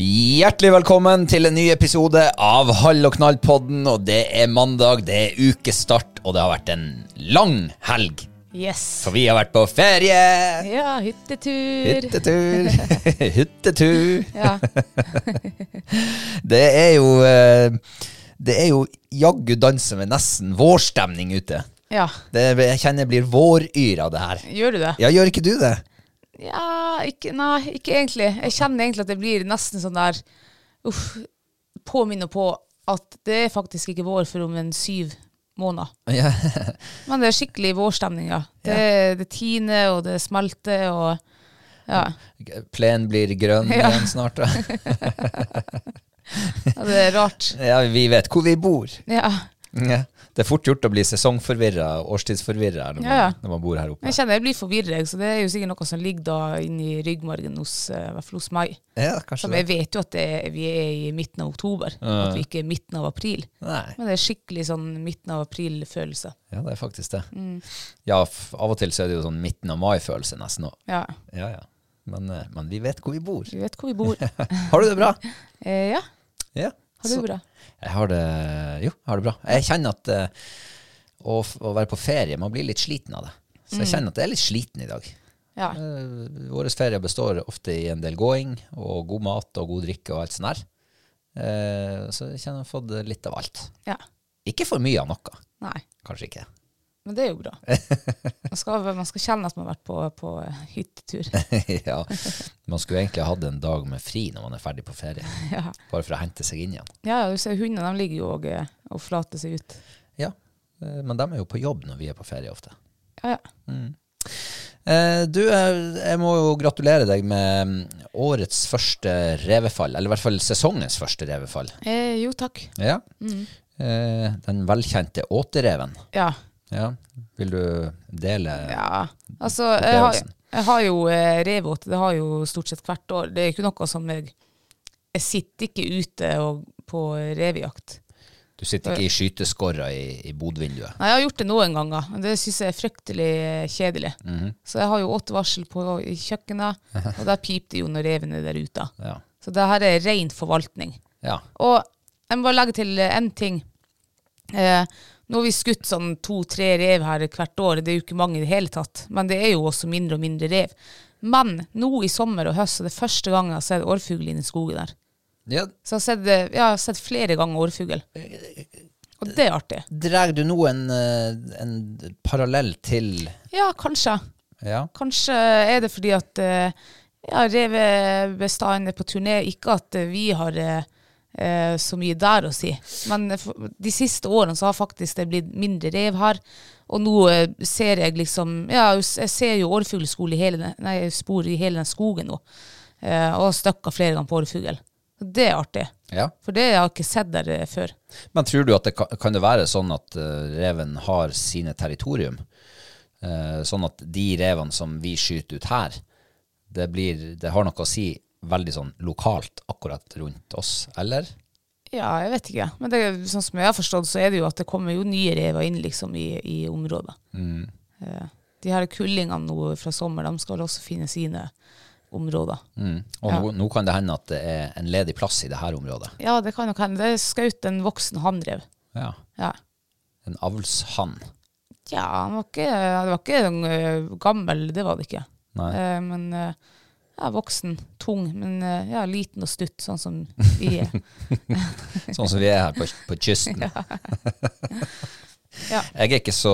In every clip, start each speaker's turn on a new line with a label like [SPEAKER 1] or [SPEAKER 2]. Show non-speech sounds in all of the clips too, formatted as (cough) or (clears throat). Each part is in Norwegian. [SPEAKER 1] Hjertelig velkommen til en ny episode av Hall og knall-podden. Og det er mandag, det er ukestart, og det har vært en lang helg.
[SPEAKER 2] Yes.
[SPEAKER 1] For vi har vært på ferie!
[SPEAKER 2] Ja, hyttetur.
[SPEAKER 1] Hyttetur. (laughs) Hyttetur.
[SPEAKER 2] Ja.
[SPEAKER 1] Det er jo eh, Det er jo jaggu danse med nesten vårstemning ute.
[SPEAKER 2] ja.
[SPEAKER 1] Det, jeg kjenner jeg blir våryr av det her.
[SPEAKER 2] Gjør du det?
[SPEAKER 1] Ja, gjør ikke du det?
[SPEAKER 2] Ja, ikke, nei, ikke egentlig. Jeg kjenner egentlig at det blir nesten sånn der Uff. Påminner på at det er faktisk ikke vår for om en syv måneder.
[SPEAKER 1] Ja.
[SPEAKER 2] Men det er skikkelig vårstemning, ja. Det, det tiner, og det smelter, og ja.
[SPEAKER 1] Plenen blir grønn
[SPEAKER 2] Ja.
[SPEAKER 1] igjen snart. da.
[SPEAKER 2] ja. Det er rart.
[SPEAKER 1] Ja, vi vet hvor vi bor.
[SPEAKER 2] Ja.
[SPEAKER 1] Ja. Det er fort gjort å bli sesongforvirra, årstidsforvirra, når, man-
[SPEAKER 2] Ja, ja.
[SPEAKER 1] når man bor her oppe.
[SPEAKER 2] Jeg kjenner jeg blir forvirret, så det er jo sikkert noe som ligger da inni ryggmargen hos, eh, i hvert fall hos meg.
[SPEAKER 1] Ja, kanskje
[SPEAKER 2] Som
[SPEAKER 1] det.
[SPEAKER 2] jeg vet jo at det, vi er i midten av oktober, at vi ikke er midten av april.
[SPEAKER 1] Nei,
[SPEAKER 2] Men det er skikkelig sånn midten av april-følelse.
[SPEAKER 1] ja, det er faktisk det.
[SPEAKER 2] Mm.
[SPEAKER 1] Ja, f av og til så er det jo sånn midten av mai-følelse nesten òg.
[SPEAKER 2] Ja.
[SPEAKER 1] Ja, ja. Men, eh, men vi vet hvor vi bor.
[SPEAKER 2] Du vet hvor vi bor.
[SPEAKER 1] Har du det
[SPEAKER 2] (laughs)
[SPEAKER 1] bra?
[SPEAKER 2] eh, ja,
[SPEAKER 1] Ja.
[SPEAKER 2] har du
[SPEAKER 1] Så-
[SPEAKER 2] bra?
[SPEAKER 1] Jeg har det Jo, jeg har det bra. Jeg kjenner at eh, å, f- å være på ferie, man blir litt sliten av det. Så jeg
[SPEAKER 2] Mm.
[SPEAKER 1] kjenner at jeg er litt sliten i dag.
[SPEAKER 2] Ja.
[SPEAKER 1] Eh, Våre ferier består ofte i en del gåing og god mat og god drikke og alt sånt der. Eh, så jeg kjenner jeg har fått litt av alt.
[SPEAKER 2] ja.
[SPEAKER 1] Ikke for mye av noe.
[SPEAKER 2] Nei.
[SPEAKER 1] Kanskje ikke. (laughs)
[SPEAKER 2] Men det er jo bra. Man skal, man skal kjenne at man har vært på, på hyttetur.
[SPEAKER 1] (laughs) ja. Man skulle egentlig hatt en dag med fri når man er ferdig på ferie.
[SPEAKER 2] Ja,
[SPEAKER 1] Bare for å hente seg inn igjen.
[SPEAKER 2] ja du ser hundene de ligger jo og, eh, og flater seg ut.
[SPEAKER 1] Ja. Eh, Men de er jo på jobb når vi er på ferie ofte.
[SPEAKER 2] Ja, ja.
[SPEAKER 1] Eh, Du, eh, jeg må jo gratulere deg med mm, årets første revefall. Eller i hvert fall sesongens første revefall.
[SPEAKER 2] Eh, jo, takk.
[SPEAKER 1] Ja. Eh, Den velkjente återeven.
[SPEAKER 2] Ja.
[SPEAKER 1] Ja. Vil du dele
[SPEAKER 2] Ja, altså jeg har,
[SPEAKER 1] opplevelsen.
[SPEAKER 2] jeg har jo eh, revåt, det har jeg jo stort sett hvert år. Det er ikke noe som jeg Jeg sitter ikke ute og, på revejakt.
[SPEAKER 1] Du sitter ikke i skyteskorra i, i bodvinduet.
[SPEAKER 2] Nei, jeg har gjort det noen ganger, og det syns jeg er fryktelig eh, kjedelig. Så jeg har jo åtte varsel på i kjøkkenet, og der pipte jo når reven er der ute.
[SPEAKER 1] Ja.
[SPEAKER 2] Så det her er ren forvaltning.
[SPEAKER 1] ja.
[SPEAKER 2] Og jeg må bare legge til én ting. Eh, nå har vi skutt sånn to-tre rev her hvert år, det er jo ikke mange i det hele tatt. Men det er jo også mindre og mindre rev. Men nå i sommer og høst er det første gang jeg har sett årfugl inne i skogen der.
[SPEAKER 1] ja.
[SPEAKER 2] Så jeg har sett, eh, ja, jeg har sett flere ganger årfugl. Og det er artig.
[SPEAKER 1] Drar du nå en, eh, en parallell til
[SPEAKER 2] Ja, kanskje.
[SPEAKER 1] Ja.
[SPEAKER 2] Kanskje er det fordi at eh, ja, revebestanden er på turné. Ikke at eh, vi har eh, eh, så mye der å si, men eh, for- de siste årene så har faktisk det blitt mindre rev her. Og nå eh, ser jeg liksom Ja, jeg s- jeg ser jo orrfuglskole i hele den- Nei, spor i hele den skogen nå. Eh, og har støkka flere ganger på orrfugl. Det er artig.
[SPEAKER 1] Ja.
[SPEAKER 2] For det har jeg ikke sett der eh, før.
[SPEAKER 1] Men tror du at det kan, kan det være sånn at eh, reven har sine territorium? Eh, sånn at de revene som vi skyter ut her, det, blir, det har noe å si veldig sånn lokalt akkurat rundt oss, eller?
[SPEAKER 2] Ja, jeg vet ikke. Men det, er- sånn som jeg har forstått, så er det jo at det kommer jo nye rever inn liksom i, i området. Eh, De her kullingene nå fra sommer, de skal vel også finne sine områder.
[SPEAKER 1] Mm. Og nå, nå kan det hende at det er en ledig plass i det her området.
[SPEAKER 2] Ja, det kan nok hende. Det skjøt en voksen hannrev.
[SPEAKER 1] Ja.
[SPEAKER 2] Ja.
[SPEAKER 1] En avlshann.
[SPEAKER 2] ja, han var ikke, det var ikke en eh, gammel, det var det ikke.
[SPEAKER 1] Nei.
[SPEAKER 2] (laughs) Eh, Men eh, ja, voksen, tung, men eh, ja, liten og stutt, sånn som vi er.
[SPEAKER 1] Sånn som vi er her på, på kysten. (laughs)
[SPEAKER 2] Ja.
[SPEAKER 1] Jeg er ikke så,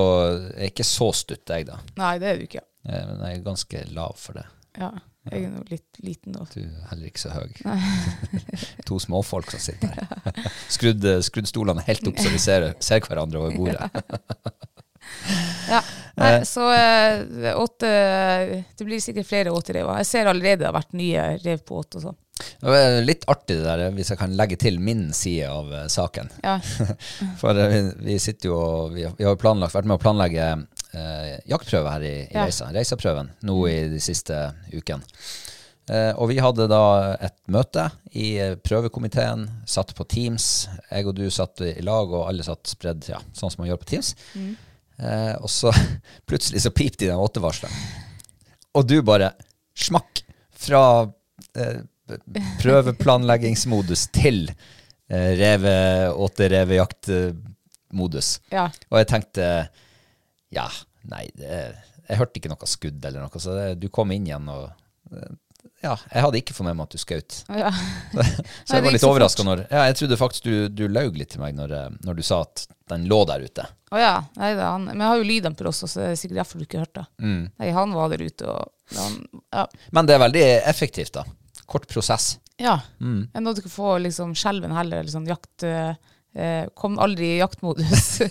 [SPEAKER 1] jeg er ikke så stutt, jeg, da.
[SPEAKER 2] Nei, det er du ikke.
[SPEAKER 1] Jeg, men jeg er ganske lav for det.
[SPEAKER 2] Ja, jeg er nå litt liten og
[SPEAKER 1] Du er heller ikke så høy. to småfolk som sitter her. (laughs) Skrudd, eh, skrudd stolene helt opp så vi ser, ser hverandre over bordet.
[SPEAKER 2] Ja. Nei, så eh, åtte Det blir sikkert flere återever. Jeg ser allerede det har vært nye rev på åt og sånn.
[SPEAKER 1] Det var litt artig det der, eh, hvis jeg kan legge til min side av eh, saken.
[SPEAKER 2] Ja.
[SPEAKER 1] (laughs) For eh, vi, vi sitter jo og vi, har- vi har jo planlagt, vært med å planlegge eh, jaktprøve her i, i
[SPEAKER 2] Ja.
[SPEAKER 1] Reisa, Reisaprøven, nå i de siste ukene. Eh, og vi hadde da et møte i eh, prøvekomiteen, satt på Teams. Jeg og du satt i lag, og alle satt spredd, ja, sånn som man gjør på Teams. Eh, og så (laughs) plutselig så pipte de den åttevarsleren. Og du bare smakk fra eh, prøveplanleggingsmodus til eh, reve, återevejaktmodus.
[SPEAKER 2] ja.
[SPEAKER 1] Og jeg tenkte Ja, nei, det, jeg hørte ikke noe skudd eller noe, så det, du kom inn igjen og eh, Ja, jeg hadde ikke fått med meg at du skjøt.
[SPEAKER 2] ja.
[SPEAKER 1] Så jeg
[SPEAKER 2] det
[SPEAKER 1] var
[SPEAKER 2] gikk
[SPEAKER 1] litt
[SPEAKER 2] så
[SPEAKER 1] overraska
[SPEAKER 2] fort.
[SPEAKER 1] når ja, Jeg trodde faktisk du, du laug litt til meg når, eh, når du sa at den lå der ute.
[SPEAKER 2] Å ja. Nei da, han Men jeg har jo lyddemper også, så det er sikkert derfor du ikke hørte. Nei, han var der ute og han, Ja.
[SPEAKER 1] Men det er veldig effektivt, da. Kort prosess.
[SPEAKER 2] ja. Jeg nådde ikke å få liksom skjelven heller, eller sånn jakt eh, eh, Kom aldri i jaktmodus.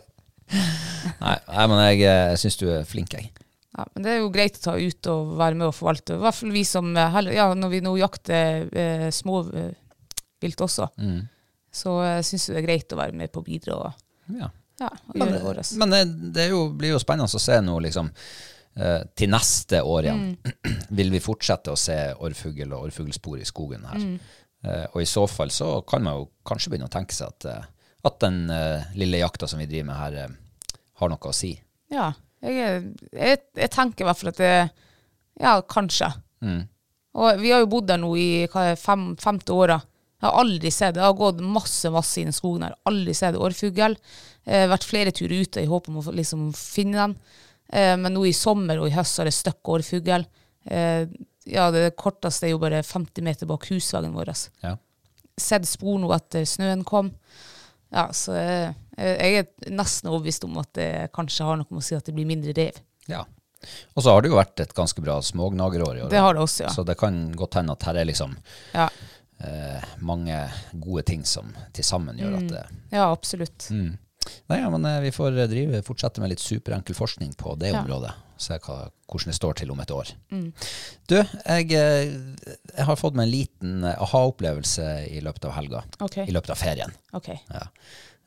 [SPEAKER 2] (laughs)
[SPEAKER 1] Nei, nei men jeg, eh, syns du er flink, jeg.
[SPEAKER 2] Ja, men det er jo greit å ta ut og være med og forvalte. I hvert fall vi som eh, heller, ja, Når vi nå jakter eh, småvilt også, så eh, syns jeg det er greit å være med på å bidra og,
[SPEAKER 1] Ja.
[SPEAKER 2] ja, og
[SPEAKER 1] Men,
[SPEAKER 2] gjøre vårt.
[SPEAKER 1] men det, det er jo, blir jo spennende å se nå, liksom. eh, Til neste år igjen
[SPEAKER 2] Mm.
[SPEAKER 1] (clears throat) vil vi fortsette å se orrfugl og orrfuglspor i skogen her.
[SPEAKER 2] Mm.
[SPEAKER 1] Eh, Og i så fall så kan man jo kanskje begynne å tenke seg at, eh, at den eh, lille jakta som vi driver med her, eh, har noe å si.
[SPEAKER 2] Ja, jeg, er- jeg, jeg tenker i hvert fall at det Ja, kanskje. Og vi har jo bodd der nå i hva er det, fem, femte året. Jeg har aldri sett det. Jeg har gått masse masse inn i skogen her. Aldri sett orrfugl. Eh, vært flere turer ute i håp om å få- liksom, finne den. Eh, men nå i sommer og i høst så er det støkk orrfugl. Eh, ja, det korteste er jo bare 50 meter bak husveggen vår.
[SPEAKER 1] Ja.
[SPEAKER 2] Sett spor nå etter snøen kom. Ja, så eh, jeg er nesten overbevist om at det kanskje har noe med å si at det blir mindre rev.
[SPEAKER 1] Ja. Og så har det jo vært et ganske bra smågnagerår i år.
[SPEAKER 2] Det har det også, ja.
[SPEAKER 1] Så det kan godt hende at her er liksom
[SPEAKER 2] Ja,
[SPEAKER 1] eh, mange gode ting som til sammen gjør
[SPEAKER 2] Mm.
[SPEAKER 1] at det
[SPEAKER 2] ja absolutt.
[SPEAKER 1] Mm. Nei, ja, men eh, vi får eh, drive, fortsette med litt superenkel forskning på det området. Se hva, hvordan det står til om et år. Du, jeg, eh, jeg har fått meg en liten eh, aha-opplevelse i løpet av helga.
[SPEAKER 2] Ok.
[SPEAKER 1] I løpet av ferien.
[SPEAKER 2] Ok.
[SPEAKER 1] Ja.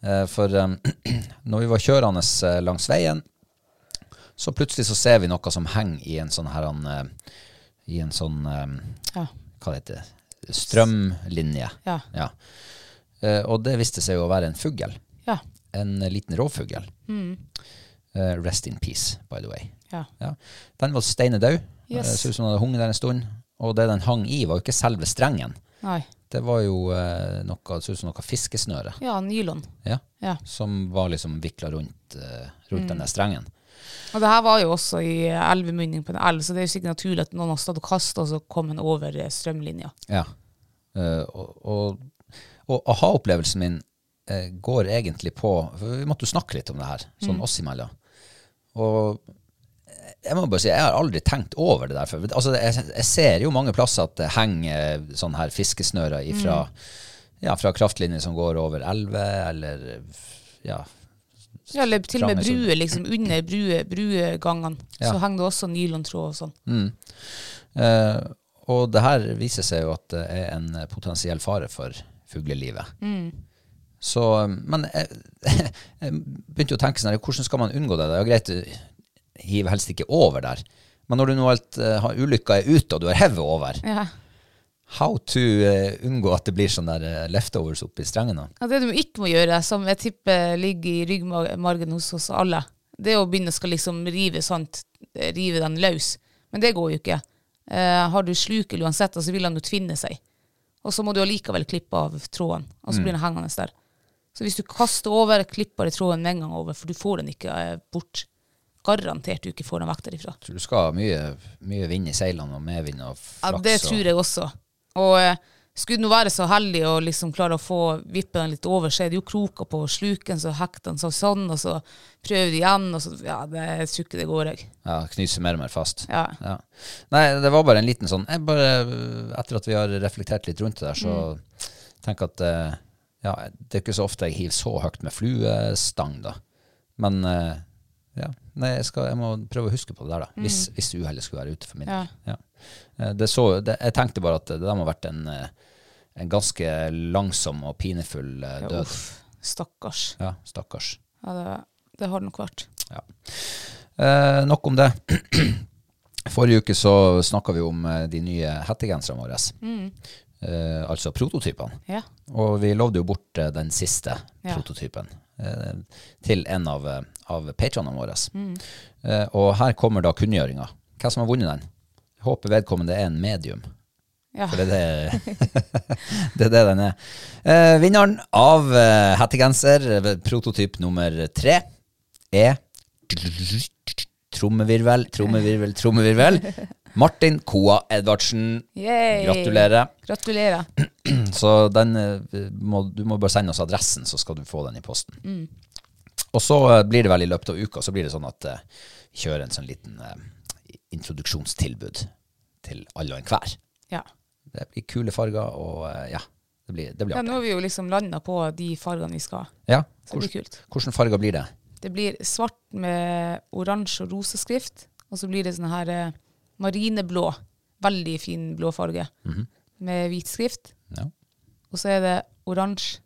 [SPEAKER 1] Eh, For eh, (clears throat) når vi var kjørende eh, langs veien, så plutselig så ser vi noe som henger i en sånn her han, eh, I en sånn eh,
[SPEAKER 2] Ja.
[SPEAKER 1] Hva heter det? Strømlinje.
[SPEAKER 2] Ja.
[SPEAKER 1] Ja. Eh, Og det viste seg jo å være en fugl
[SPEAKER 2] Ja. Mm.
[SPEAKER 1] en liten rovfugl. Eh, rest in peace, by the way.
[SPEAKER 2] Ja.
[SPEAKER 1] Ja. Den var steinedau.
[SPEAKER 2] Yes.
[SPEAKER 1] Yes. så ut som den hadde hunget der en stund. Og det den hang i, var jo ikke selve strengen.
[SPEAKER 2] Nei.
[SPEAKER 1] Det var jo eh, noe, så ut som noe fiskesnøre
[SPEAKER 2] Ja, nylon.
[SPEAKER 1] ja,
[SPEAKER 2] Ja.
[SPEAKER 1] som var liksom vikla rundt, eh, rundt denne strengen.
[SPEAKER 2] Og det her var jo også i elvemunning på en elv, så det er jo sikkert naturlig at noen har stått og kasta, og så kom en over eh, strømlinja.
[SPEAKER 1] Ja. Eh, og og, og aha-opplevelsen min eh, går egentlig på for Vi måtte jo snakke litt om det her, sånn oss imellom. Og jeg må bare si, jeg har aldri tenkt over det der før. Altså, jeg, jeg ser jo mange plasser at det henger eh, sånne her fiskesnører ifra, ja, fra kraftlinjer som går over elver, eller ja,
[SPEAKER 2] Ja, eller til og med
[SPEAKER 1] Fragnes-
[SPEAKER 2] bruer, liksom under brue, bruegangene.
[SPEAKER 1] Ja.
[SPEAKER 2] Så henger det også nylontråd og sånn.
[SPEAKER 1] Eh, og det her viser seg jo at det er en eh, potensiell fare for fuglelivet.
[SPEAKER 2] Mm.
[SPEAKER 1] Så, eh, men jeg, (laughs) jeg begynte jo å tenke sånn her, hvordan skal man unngå det? Det er jo greit, du hiver helst ikke over der. Men når du nå alt, eh, har ulykka er ute, og du har hevet over,
[SPEAKER 2] Ja.
[SPEAKER 1] how to eh, unngå at det blir sånne der eh, leftovers oppi strengene?
[SPEAKER 2] Ja, det du ikke må gjøre, som jeg tipper ligger i ryggmargen hos oss alle, det er å begynne å skal liksom rive, sant? rive den løs. Men det går jo ikke. Eh, har du slukel uansett, altså, så vil han jo tvinne seg. Og så må du allikevel klippe av tråden, og så blir den hengende der. Så hvis du kaster over, klipper du tråden med en gang over, for du får den ikke eh, bort. Garantert du ikke får den vekk derifra.
[SPEAKER 1] Så du skal ha mye, mye vind i seilene og medvind og
[SPEAKER 2] Ja,
[SPEAKER 1] flaks.
[SPEAKER 2] det tror jeg også. Og eh, skulle du nå være så heldig å liksom klare å få vippe den litt over, så er det jo kroker på sluken, så hekter den seg sånn, og så prøver du igjen, og så Ja, det jeg tror ikke det går, jeg.
[SPEAKER 1] Og, ja, knyse mer og mer fast.
[SPEAKER 2] Ja.
[SPEAKER 1] Ja. Nei, det var bare en liten sånn jeg bare, Etter at vi har reflektert litt rundt det der,
[SPEAKER 2] Mm.
[SPEAKER 1] så tenker jeg at eh, ja, det er ikke så ofte jeg hiver så høyt med fluestang, da. Men eh, ja, nei, jeg, skal, jeg må prøve å huske på det der,
[SPEAKER 2] Mm.
[SPEAKER 1] da. Hvis, hvis uhellet skulle være ute for min del. Ja. Eh, Det så, det, jeg tenkte bare at det der må ha vært en, eh, en ganske langsom og pinefull eh,
[SPEAKER 2] Ja,
[SPEAKER 1] død.
[SPEAKER 2] Uff, stakkars.
[SPEAKER 1] Ja, stakkars.
[SPEAKER 2] Ja, det, det har det nok vært.
[SPEAKER 1] Ja. Eh, nok om det. (clears throat) Forrige uke så snakka vi om eh, de nye hettegenserne våre. Eh, altså prototypene.
[SPEAKER 2] Ja.
[SPEAKER 1] Og vi lovde jo bort eh, den siste
[SPEAKER 2] Ja.
[SPEAKER 1] prototypen eh, til en av, eh, av patronene våre. Eh, og her kommer da kunngjøringa. Hvem som har vunnet den? Jeg håper vedkommende er en medium.
[SPEAKER 2] Ja.
[SPEAKER 1] For det er det, (laughs) det, er det den er. Eh, vinneren av eh, hettegenser, eh, prototyp nummer tre, er Trommevirvel, trommevirvel, trommevirvel. Martin Koa Edvardsen.
[SPEAKER 2] Yay.
[SPEAKER 1] Gratulerer.
[SPEAKER 2] Gratulerer.
[SPEAKER 1] Så den, eh, må, du må bare sende oss adressen, så skal du få den i posten. Og så eh, blir det vel i løpet av uka så blir det sånn at eh, vi kjører en sånn liten eh, introduksjonstilbud til alle og enhver.
[SPEAKER 2] Ja.
[SPEAKER 1] Det blir kule farger, og eh, ja, det blir, det blir
[SPEAKER 2] ja. Nå
[SPEAKER 1] artig.
[SPEAKER 2] har vi jo liksom landa på de fargene vi skal ha.
[SPEAKER 1] Ja,
[SPEAKER 2] Så det blir
[SPEAKER 1] hvordan,
[SPEAKER 2] kult.
[SPEAKER 1] hvordan farger blir det?
[SPEAKER 2] Det blir svart med oransje og rosa skrift, og så blir det sånn her eh, marineblå, veldig fin blåfarge, med hvit skrift.
[SPEAKER 1] Ja.
[SPEAKER 2] Og så er det oransje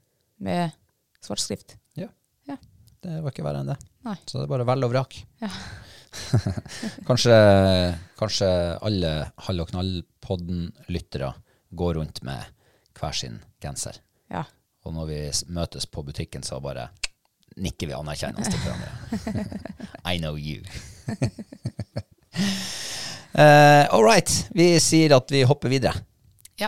[SPEAKER 2] med svart skrift.
[SPEAKER 1] ja.
[SPEAKER 2] Ja.
[SPEAKER 1] Det var ikke verre enn det.
[SPEAKER 2] Nei.
[SPEAKER 1] Så det er bare vel og vrak. kanskje, (laughs) kanskje alle Hall og knall-podden-lyttere går rundt med hver sin genser.
[SPEAKER 2] Ja.
[SPEAKER 1] Og når vi s- møtes på butikken, så bare nikker vi anerkjennende til hverandre.
[SPEAKER 2] (laughs)
[SPEAKER 1] I know you. (laughs) uh, all right. Vi sier at vi hopper videre.
[SPEAKER 2] ja.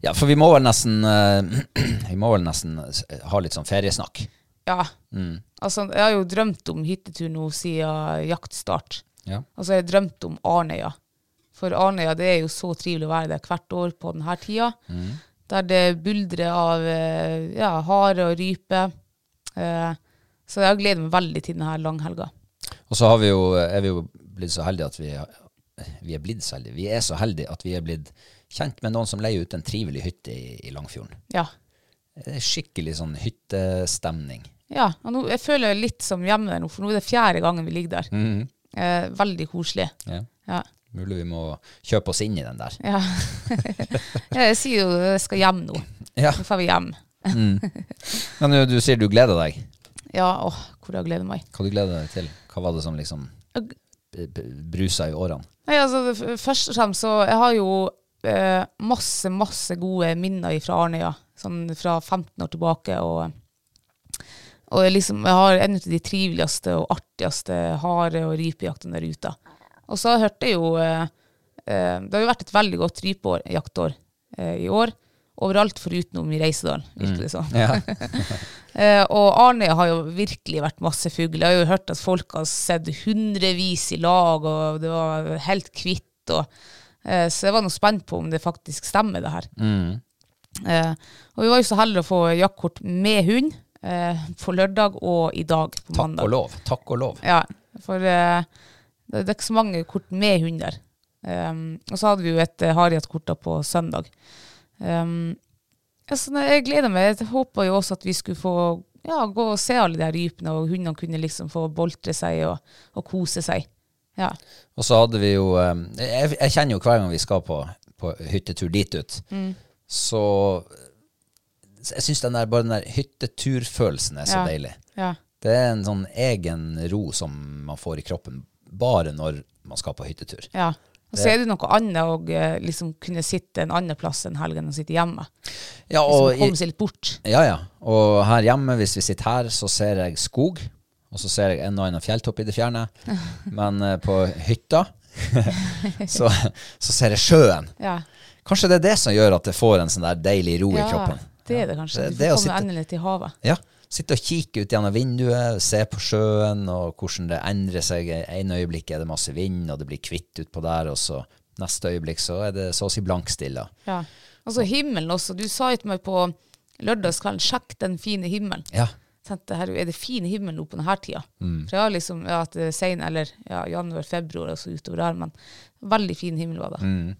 [SPEAKER 1] Ja, for vi må vel nesten, eh, (clears throat) vi må vel nesten s- ha litt sånn feriesnakk. Mm.
[SPEAKER 2] ja. Altså, jeg har jo drømt om hyttetur nå siden jaktstart.
[SPEAKER 1] Ja.
[SPEAKER 2] Altså, jeg har drømt om Arnøya. For Arnøya, det er jo så trivelig å være der hvert år på denne tida. Der det buldrer av eh, ja, hare og rype. Eh, Så jeg gleder meg veldig til denne langhelga.
[SPEAKER 1] Og så har vi jo, eh, er vi jo blitt så heldige at vi, vi er blitt så heldige. Vi er så heldige at vi er blitt kjent med noen som leier ut en trivelig hytte i, i Langfjorden.
[SPEAKER 2] Ja.
[SPEAKER 1] Det er skikkelig sånn hyttestemning.
[SPEAKER 2] Ja, og nå, jeg føler jeg litt som hjemme der nå, for nå er det fjerde gangen vi ligger der. Eh, veldig koselig.
[SPEAKER 1] Ja.
[SPEAKER 2] Ja.
[SPEAKER 1] Mm-hmm. Mulig vi må kjøpe oss inn i den der.
[SPEAKER 2] Ja. (laughs) jeg sier jo jeg skal hjem nå.
[SPEAKER 1] Ja.
[SPEAKER 2] Nå får vi hjem.
[SPEAKER 1] Mm. Men du, du sier du gleder deg.
[SPEAKER 2] Ja, åh, hvor jeg gleder meg.
[SPEAKER 1] Hva du gleder deg til? Hva var det som liksom b- b- brusa i årene?
[SPEAKER 2] Nei, altså, det f- først og fremst så Jeg har jo eh, masse, masse gode minner fra Arnøya. Sånn fra 15 år tilbake. Og, og jeg liksom, jeg har en av de triveligste og artigste hare- og rypejaktene der ute. Og så hørte jeg jo eh, eh, Det har jo vært et veldig godt rypejaktår eh, i år. Overalt foruten om i Reisedalen, virker det sånn.
[SPEAKER 1] Ja.
[SPEAKER 2] Eh, og Arnøya har jo virkelig vært masse fugl. Jeg har jo hørt at folk har sett hundrevis i lag, og det var helt kvitt. Og, eh, så jeg var nå spent på om det faktisk stemmer, det her.
[SPEAKER 1] Mm.
[SPEAKER 2] Eh, og vi var jo så heldige å få jaktkort med hund eh, på lørdag og i dag på
[SPEAKER 1] Takk
[SPEAKER 2] mandag.
[SPEAKER 1] og lov. Takk og lov.
[SPEAKER 2] Ja, for eh, det, det er ikke så mange kort med hund der. Ehm, og så hadde vi jo et uh, Harriet-kort da på søndag. Ehm, altså, nei, jeg gleder meg. Jeg håpa jo også at vi skulle få ja, gå og se alle de her rypene, og hundene kunne liksom få boltre seg og, og kose seg. Ja.
[SPEAKER 1] Og så hadde vi jo eh, Jeg, jeg kjenner jo hver gang vi skal på, på hyttetur dit ut,
[SPEAKER 2] Mm.
[SPEAKER 1] så så jeg syns den der, bare den der hytteturfølelsen er så
[SPEAKER 2] Ja.
[SPEAKER 1] deilig.
[SPEAKER 2] ja.
[SPEAKER 1] Det er en sånn egen ro som man får i kroppen bare når man skal på hyttetur.
[SPEAKER 2] ja. Og så er det noe annet å eh, liksom kunne sitte en annen plass enn helgen og sitte hjemme.
[SPEAKER 1] Ja,
[SPEAKER 2] Liksom
[SPEAKER 1] og i,
[SPEAKER 2] komme seg litt bort.
[SPEAKER 1] ja, ja. og her hjemme, hvis vi sitter her, så ser jeg skog, og så ser jeg en og annen fjelltopp i det
[SPEAKER 2] (laughs)
[SPEAKER 1] fjerne. Men eh, på hytta (laughs) så, så ser jeg sjøen.
[SPEAKER 2] Ja.
[SPEAKER 1] Kanskje det er det som gjør at jeg får en sånn der deilig ro i
[SPEAKER 2] ja,
[SPEAKER 1] kroppen.
[SPEAKER 2] det er det kanskje.
[SPEAKER 1] Det-
[SPEAKER 2] Du
[SPEAKER 1] det å
[SPEAKER 2] får komme
[SPEAKER 1] sitte-
[SPEAKER 2] endelig til havet.
[SPEAKER 1] Ja. Sitte og kikke ut gjennom vinduet, se på sjøen og hvordan det endrer seg. En øyeblikk er det masse vind, og det blir kvitt utpå der, og så neste øyeblikk så er det så å si blankstille.
[SPEAKER 2] Ja. Og så himmelen også. Du sa jo til meg på lørdagskvelden 'sjekk den fine himmelen'.
[SPEAKER 1] Ja.
[SPEAKER 2] Jeg tenkte herregud, er det fin himmel nå på denne tida? For jeg har liksom ja, at det er sen, eller ja, januar-februar og så utover der, men veldig fin himmel var det.
[SPEAKER 1] Mm.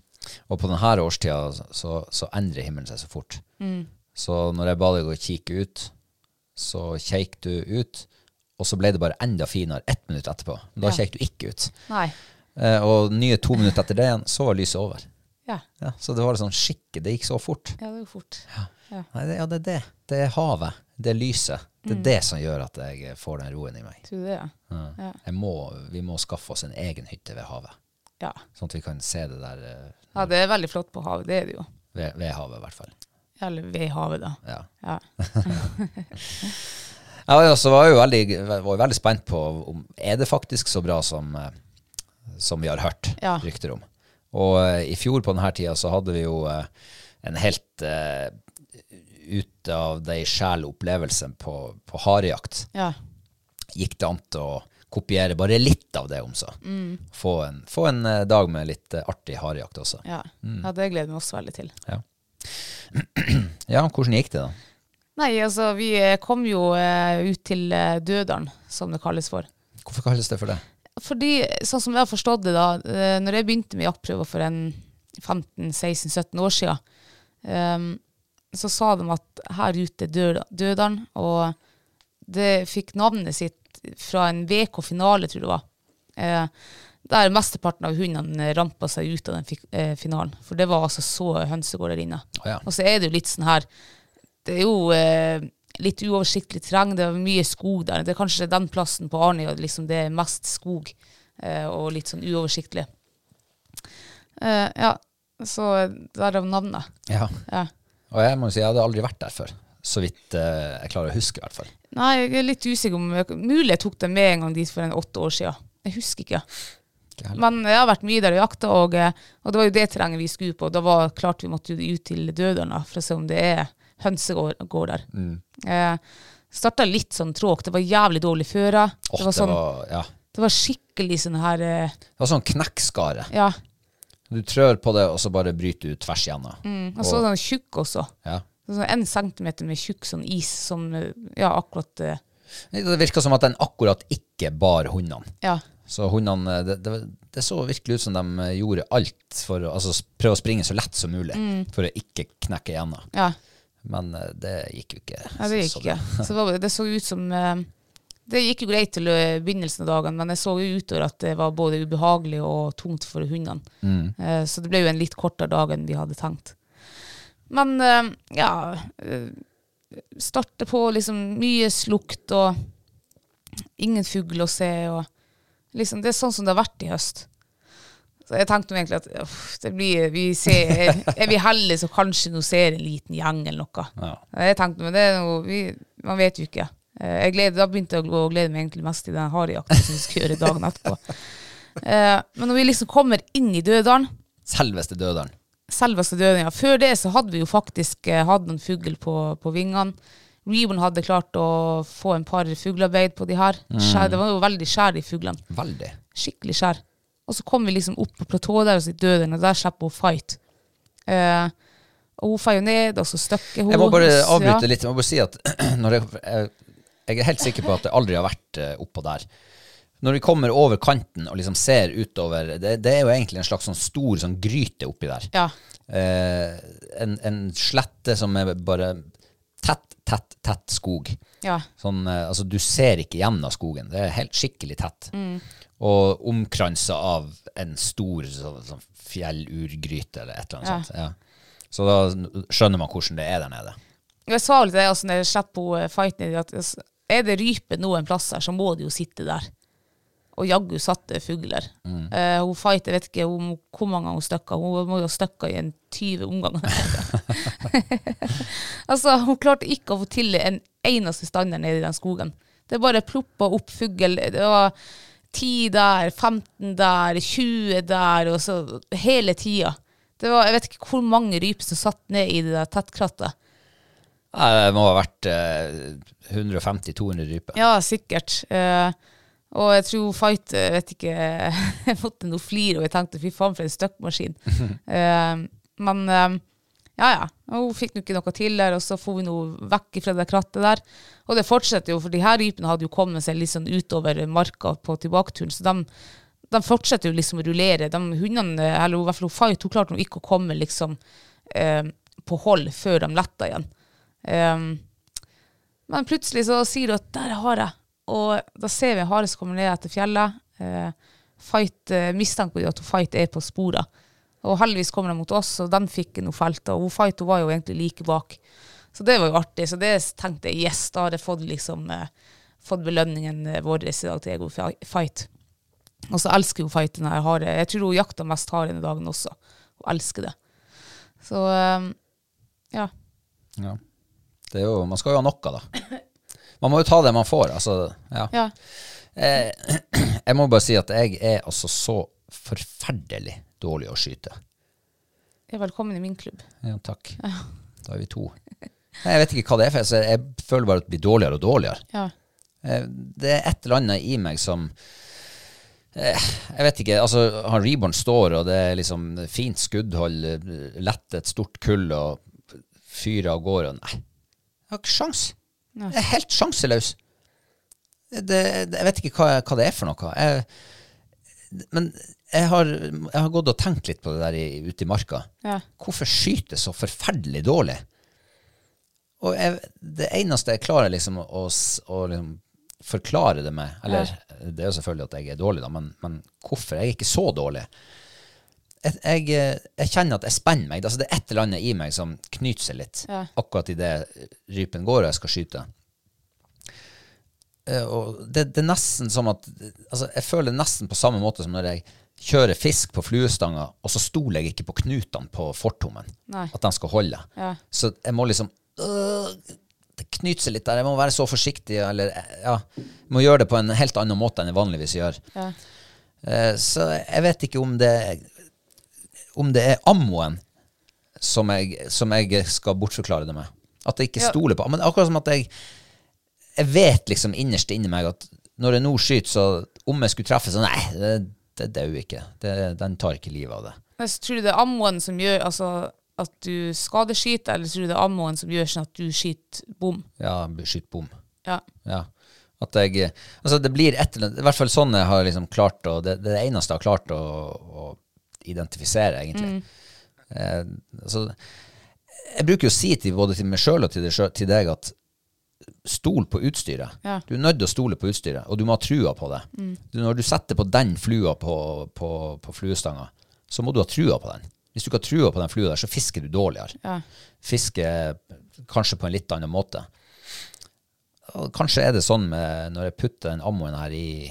[SPEAKER 1] Og på denne årstida så, så endrer himmelen seg så fort.
[SPEAKER 2] Mm.
[SPEAKER 1] Så når jeg ba deg å kikke ut, så kjekk du ut, og så ble det bare enda finere ett minutt etterpå. Men da
[SPEAKER 2] Ja.
[SPEAKER 1] kjekk du ikke ut.
[SPEAKER 2] Nei.
[SPEAKER 1] Eh, og nye to minutter etter det igjen, så var lyset over.
[SPEAKER 2] Ja.
[SPEAKER 1] Ja, så det var sånn skikke, det gikk så fort.
[SPEAKER 2] ja, det går fort.
[SPEAKER 1] Nei, det, ja, det er det. Det er havet. Det er lyset. Det
[SPEAKER 2] Mm.
[SPEAKER 1] er det som gjør at jeg får den roen i meg.
[SPEAKER 2] Tror du det? Ja.
[SPEAKER 1] Ja.
[SPEAKER 2] Ja.
[SPEAKER 1] Jeg må, vi må skaffe oss en egen hytte ved havet,
[SPEAKER 2] ja.
[SPEAKER 1] sånn at vi kan se det der eh,
[SPEAKER 2] Ja, det er veldig flott på havet, det er det jo.
[SPEAKER 1] ved, ved havet, i hvert fall.
[SPEAKER 2] Eller ved havet, da.
[SPEAKER 1] Ja.
[SPEAKER 2] Ja.
[SPEAKER 1] Jeg var jo også- var jo veldig, var jo veldig spent på om er det faktisk så bra som, eh, som vi har hørt
[SPEAKER 2] Ja.
[SPEAKER 1] rykter om. Og eh, i fjor på denne tida så hadde vi jo eh, en helt eh, ut av deg sjæl opplevelse på, på harejakt.
[SPEAKER 2] ja.
[SPEAKER 1] gikk det an til å kopiere bare litt av det om så.
[SPEAKER 2] Mm.
[SPEAKER 1] Få, en, få en eh, dag med litt eh, artig harejakt også.
[SPEAKER 2] Ja. ja, det gleder vi oss veldig til.
[SPEAKER 1] Ja. ja, hvordan gikk det da?
[SPEAKER 2] Nei, altså, vi eh, kom jo eh, ut til eh, Dødalen, som det kalles for.
[SPEAKER 1] Hvorfor kalles det for det?
[SPEAKER 2] Fordi, sånn som jeg har forstått det da, eh, når jeg begynte med jaktprøver for en 15-16-17 år siden, ehm, så sa de at her ute er død- døderen, og det fikk navnet sitt fra en VK-finale, tror jeg det var. Eh, der mesteparten av hundene rampa seg ut av den fik- eh, finalen. For det var altså så hønsegård der inne.
[SPEAKER 1] Å ja.
[SPEAKER 2] Og så er det jo litt sånn her Det er jo eh, litt uoversiktlig terreng. Det er mye skog der. Det er kanskje den plassen på Arnøya liksom det er mest skog eh, og litt sånn uoversiktlig. Eh, ja, så derav navnet.
[SPEAKER 1] ja.
[SPEAKER 2] Ja.
[SPEAKER 1] Og jeg må jo si jeg hadde aldri vært der før. Så vidt eh, jeg klarer å huske i hvert fall.
[SPEAKER 2] Nei, jeg er litt usikker om jeg, Mulig jeg tok det med en gang dit for en åtte år siden. Jeg husker ikke.
[SPEAKER 1] Ikke heller.
[SPEAKER 2] Men jeg har vært mye der og jakta, og, eh, og det var jo det terrenget vi skulle på. Da var klart vi måtte jo ut til Dødalen da, for å se om det er hønsegård gård der. Eh, Starta litt sånn tråk. Det var jævlig dårlig føre.
[SPEAKER 1] Åh,
[SPEAKER 2] det, var sånn,
[SPEAKER 1] ja.
[SPEAKER 2] det var skikkelig sånn her eh,
[SPEAKER 1] det var sånn knekkskare.
[SPEAKER 2] Ja.
[SPEAKER 1] Du trør på det, og så bare bryter du tvers igjennom.
[SPEAKER 2] Og så sånn tjukk også.
[SPEAKER 1] Ja.
[SPEAKER 2] Sånn En centimeter med tjukk sånn is som eh, Ja, akkurat eh,
[SPEAKER 1] Det virka som at den akkurat ikke bar hundene.
[SPEAKER 2] Ja.
[SPEAKER 1] Så hundene, eh, det, det, det så virkelig ut som de gjorde alt for å altså, s- prøve å springe så lett som mulig
[SPEAKER 2] Mm.
[SPEAKER 1] for å ikke knekke igjennom.
[SPEAKER 2] ja.
[SPEAKER 1] Men eh, det gikk jo ikke.
[SPEAKER 2] Ja, det
[SPEAKER 1] så-
[SPEAKER 2] gikk
[SPEAKER 1] så bra.
[SPEAKER 2] ikke. Så det, var, det så ut som eh, Det gikk jo greit til eh, begynnelsen av dagen, men jeg så jo utover at det var både ubehagelig og tungt for hundene.
[SPEAKER 1] Mm.
[SPEAKER 2] Eh, Så det ble jo en litt kortere dag enn vi hadde tenkt. Men eh, ja eh, Starte på liksom mye slukt og ingen fugl å se. Og liksom, det er sånn som det har vært i høst. Så jeg tenkte jo egentlig at uff, det blir, vi ser, er vi heldige, så kanskje nå ser en liten gjeng eller noe.
[SPEAKER 1] Ja.
[SPEAKER 2] Jeg tenkte, men det er noe, vi, man vet jo ikke. Eh, Jeg gleder, da begynte jeg å gå- glede meg egentlig mest til den harejakten som vi skulle gjøre dagen etterpå.
[SPEAKER 1] (laughs)
[SPEAKER 2] Eh, Men når vi liksom kommer inn i Dødalen,
[SPEAKER 1] Selveste døderen.
[SPEAKER 2] selveste Dødalen, ja, før det så hadde vi jo faktisk eh, hatt noen fugl på, på vingene. Reborn hadde klart å få en par fuglearbeid på de her.
[SPEAKER 1] Mm.
[SPEAKER 2] Skjær, det var jo veldig skjær i fuglene.
[SPEAKER 1] Veldig.
[SPEAKER 2] Skikkelig skjær. Og så kom vi liksom opp på platået der og så døde den, og der slipper hun fight. Eh, og hun feier ned, og så støkker hun.
[SPEAKER 1] Jeg må bare
[SPEAKER 2] Så-
[SPEAKER 1] avbryte
[SPEAKER 2] ja.
[SPEAKER 1] litt. Jeg må bare si at (clears throat) når jeg, jeg, jeg er helt sikker på at det aldri har vært eh, oppå der. Når vi kommer over kanten og liksom ser utover Det, det er jo egentlig en slags sånn stor sånn gryte oppi der.
[SPEAKER 2] Ja.
[SPEAKER 1] Eh, en, en slette som er bare tett, tett, tett skog.
[SPEAKER 2] ja.
[SPEAKER 1] Sånn, eh, altså Du ser ikke gjennom skogen. Det er helt skikkelig tett. Og omkransa av en stor sånn, sånn fjellurgryte eller et eller annet sånt. Ja. Så da skjønner man hvordan det er der nede.
[SPEAKER 2] Jeg sa vel til deg altså, når jeg slipper hun fighten i at altså, er det rype noen plasser, så må det jo sitte der. Og jaggu satt det fugler. Eh, hun fighter, vet ikke om, hvor mange ganger hun støkka. Hun må jo ha støkka i en 20 omganger. (laughs) altså, hun klarte ikke å få til en eneste stander nede i den skogen. Det bare ploppa opp fugl. Det var 10 der, 15 der, 20 der, og så hele tida. Det var, jeg vet ikke hvor mange ryper som satt ned i det der tettkrattet.
[SPEAKER 1] Nei, Det må ha vært eh, 150-200 ryper.
[SPEAKER 2] Ja, sikkert. Eh, og jeg tror Fight eh, vet ikke, (laughs) jeg måtte noe flir, og jeg tenkte fy faen for en støkkmaskin. Eh, men eh, ja, ja. Og Hun fikk nå ikke noe til der, og så får vi noe vekk fra det krattet der. Og det fortsetter jo, for de her rypene hadde jo kommet seg litt sånn utover marka på tilbaketuren, så de, de fortsetter jo liksom å rullere. De hundene, eller i hvert fall hun Fight, hun klarte nå ikke å komme liksom eh, på hold før de letta igjen. Eh, men plutselig så sier du at der er hare. Og da ser vi en hare som kommer ned etter fjellet. Eh, fight, eh, mistenker jo at hun Fight er på sporet. Og heldigvis kommer de mot oss, og den fikk noe felt. Og hun Fight hun var jo egentlig like bak. Så det var jo artig. Så det tenkte jeg, yes, da har jeg fått, liksom, eh, fått belønningen eh, vår i dag til Ego Fi- Fight. Og så elsker hun Fight den her hare. Jeg tror hun jakta mest hare den dagen også. Hun elsker det. Så eh, ja.
[SPEAKER 1] Ja. Det er jo, man skal jo ha noe, da. Man må jo ta det man får. Altså, ja.
[SPEAKER 2] ja.
[SPEAKER 1] Eh, jeg må bare si at jeg er altså så forferdelig dårlig å skyte.
[SPEAKER 2] Ja, Velkommen i min klubb.
[SPEAKER 1] Ja, takk. Da er vi to. Nei, jeg vet ikke hva det er, for jeg- så jeg føler bare at det blir dårligere og dårligere.
[SPEAKER 2] Ja.
[SPEAKER 1] Eh, Det er et eller annet i meg som eh, Jeg vet ikke. altså Han Reborn står, og det er liksom fint skuddhold, eh, lette et stort kull og fyrer av gårde. og Nei, jeg har ikke sjans.
[SPEAKER 2] Nei.
[SPEAKER 1] Jeg er helt sjanseløs. Det, det, jeg vet ikke hva, hva det er for noe. Jeg, men jeg har, jeg har gått og tenkt litt på det der i, ute i marka.
[SPEAKER 2] Ja.
[SPEAKER 1] Hvorfor skyter jeg så forferdelig dårlig? Og jeg, det eneste jeg klarer liksom å, s- å liksom forklare det med, eller det er jo selvfølgelig at jeg er dårlig, da, men, men hvorfor? Jeg er ikke så dårlig. Jeg, jeg, eh, jeg kjenner at jeg spenner meg. Altså, det er et eller annet i meg som knyter seg litt
[SPEAKER 2] Ja.
[SPEAKER 1] akkurat idet rypen går og jeg skal skyte. Eh, Og det, det er nesten som at altså, Jeg føler det nesten på samme måte som når jeg kjører fisk på fluestanga, og så stoler jeg ikke på knutene på fortommen.
[SPEAKER 2] Nei.
[SPEAKER 1] At de skal holde.
[SPEAKER 2] Ja.
[SPEAKER 1] Så jeg må liksom øh, Det knyter seg litt der. Jeg må være så forsiktig. Eller, eh, ja, jeg må gjøre det på en helt annen måte enn jeg vanligvis gjør.
[SPEAKER 2] Ja.
[SPEAKER 1] Eh, Så jeg vet ikke om det Om det er ammoen som jeg, som jeg skal bortforklare det med. At jeg ikke
[SPEAKER 2] Ja.
[SPEAKER 1] stoler på Men akkurat som at jeg Jeg vet liksom innerst inni meg at når jeg nå skyter, så om jeg skulle treffe, så nei, det, det dauer ikke. Det, den tar ikke livet av det.
[SPEAKER 2] Men så tror du det er ammoen som gjør altså, at du skadeskyter, eller tror du det er ammoen som gjør sånn at du skyter bom?
[SPEAKER 1] Ja, skyt bom.
[SPEAKER 2] Ja.
[SPEAKER 1] Ja. At jeg Altså, det blir et eller annet I hvert fall sånn jeg har liksom klart å Det, det er det eneste jeg har klart å, å identifisere, egentlig. Eh, altså, jeg bruker jo å si til både til meg sjøl og til, deg sjø- til deg at stole på utstyret.
[SPEAKER 2] Ja. Mm.
[SPEAKER 1] Du er nødt til å stole på utstyret, og du må ha trua på det. Du, når du setter på den flua på, på, på fluestanga, så må du ha trua på den. Hvis du ikke har trua på den flua der, så fisker du dårligere.
[SPEAKER 2] Ja.
[SPEAKER 1] Fisker kanskje på en litt annen måte. Og kanskje er det sånn med når jeg putter den ammoen her i,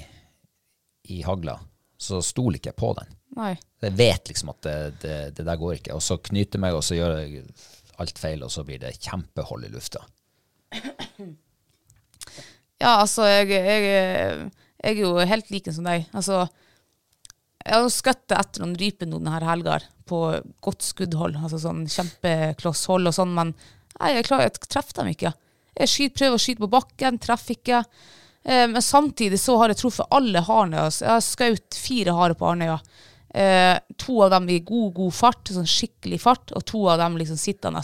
[SPEAKER 1] i hagla, så stoler ikke jeg på den.
[SPEAKER 2] Nei.
[SPEAKER 1] Jeg vet liksom at det, det, det der går ikke. Og så knyter jeg meg, og så gjør jeg alt feil, og så blir det kjempehold i lufta.
[SPEAKER 2] Ja, altså, jeg, jeg, jeg er jo helt lik en som deg. Altså, jeg har jo skutt etter noen ryper nå denne helga, på godt skuddhold. Altså sånn kjempeklosshold og sånn, men nei, jeg klarer jeg treffer dem ikke. Jeg skyter, prøver å skyte på bakken, treffer ikke. Eh, men samtidig så har jeg truffet alle harene. Altså. Jeg har skutt fire harer på Arnøya. Eh, to av dem i god, god fart, sånn skikkelig fart, og to av dem liksom sittende.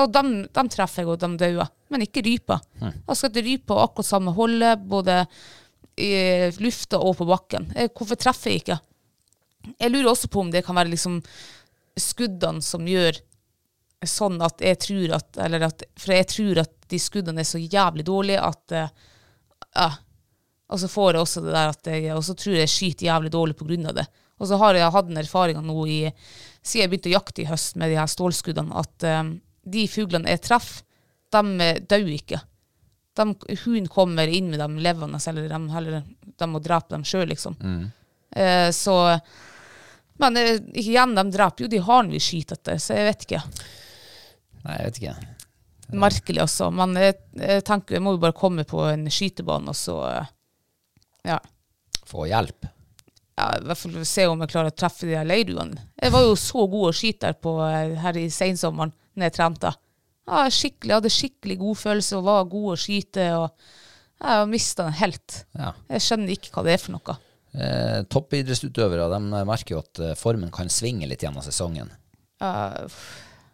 [SPEAKER 2] Og dem, dem treffer jeg, og de dauer. Men ikke rypa. Jeg har skutt rype og akkurat samme holdet, både i lufta og på bakken. Eh, hvorfor treffer jeg ikke? Jeg lurer også på om det kan være liksom skuddene som gjør sånn at jeg tror at Eller at For jeg tror at de skuddene er så jævlig dårlige at eh, Ja. Og så får jeg også det der at jeg Og så tror jeg jeg skyter jævlig dårlig på grunn av det. Og så har jeg hatt den erfaringa nå i Siden jeg begynte å jakte i høst med de her stålskuddene, at eh, de fuglene jeg treffer, de eh, dør ikke. De, hun kommer inn med dem levende, eller de, eller de må drepe dem sjøl, liksom. Eh, så Men eh, igjen, de dreper jo de harene vi skyter etter, så jeg vet ikke.
[SPEAKER 1] Nei, jeg vet ikke.
[SPEAKER 2] Merkelig også, men jeg, jeg tenker jeg må jo bare komme på en skytebane og så eh, ja.
[SPEAKER 1] Få hjelp.
[SPEAKER 2] ja, i hvert fall se om jeg klarer å treffe de her leirduene. Jeg var jo så god å skyte der på, eh, her i sensommeren når jeg trente. Ja, jeg skikkelig, hadde skikkelig god følelse og var god å skyte. og Jeg mista den helt.
[SPEAKER 1] Ja.
[SPEAKER 2] Jeg skjønner ikke hva det er for noe.
[SPEAKER 1] Eh, toppidrettsutøvere de merker jo at eh, formen kan svinge litt gjennom sesongen.
[SPEAKER 2] Eh,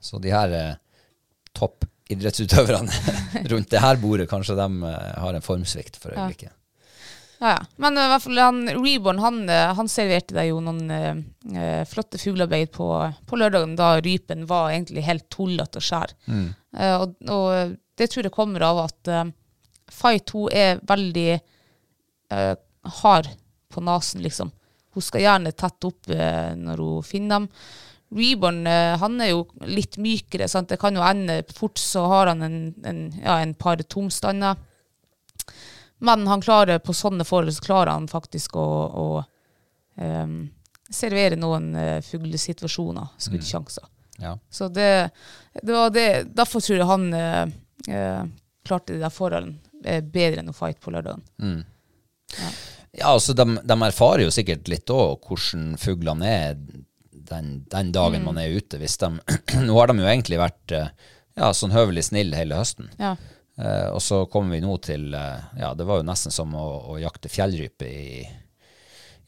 [SPEAKER 1] Så de her eh, toppidrettsutøverne (laughs) rundt det her bordet, kanskje de eh, har en formsvikt for øyeblikket.
[SPEAKER 2] Ja, ja. Men eh, i hvert fall han, Reborn han, eh, han serverte deg jo noen eh, eh, flotte fuglearbeid på, på lørdagen, da rypen var egentlig helt tullete og skjær. Eh, og, og det tror jeg kommer av at eh, Fai 2 er veldig eh, hard på nesen, liksom. Hun skal gjerne tett opp eh, når hun finner dem. Reborn eh, han er jo litt mykere, sant? det kan jo ende fort, så har han en, en, ja, en par tomstander. Men han klarer på sånne forhold så klarer han faktisk å, å ehm, servere noen eh, fuglesituasjoner, skuddsjanser.
[SPEAKER 1] Ja.
[SPEAKER 2] Så det, det var det. Derfor tror jeg han eh, eh, klarte de der forholdene eh, bedre enn å fight på lørdagen.
[SPEAKER 1] Mm. Ja, altså de, de erfarer jo sikkert litt òg hvordan fuglene er den, den dagen
[SPEAKER 2] Mm.
[SPEAKER 1] man er ute. Hvis de, (clears throat) nå har de jo egentlig vært eh, ja, sånn høvelig snille hele høsten.
[SPEAKER 2] Ja.
[SPEAKER 1] Eh, og så kommer vi nå til eh, Ja, det var jo nesten som å, å jakte fjellrype i,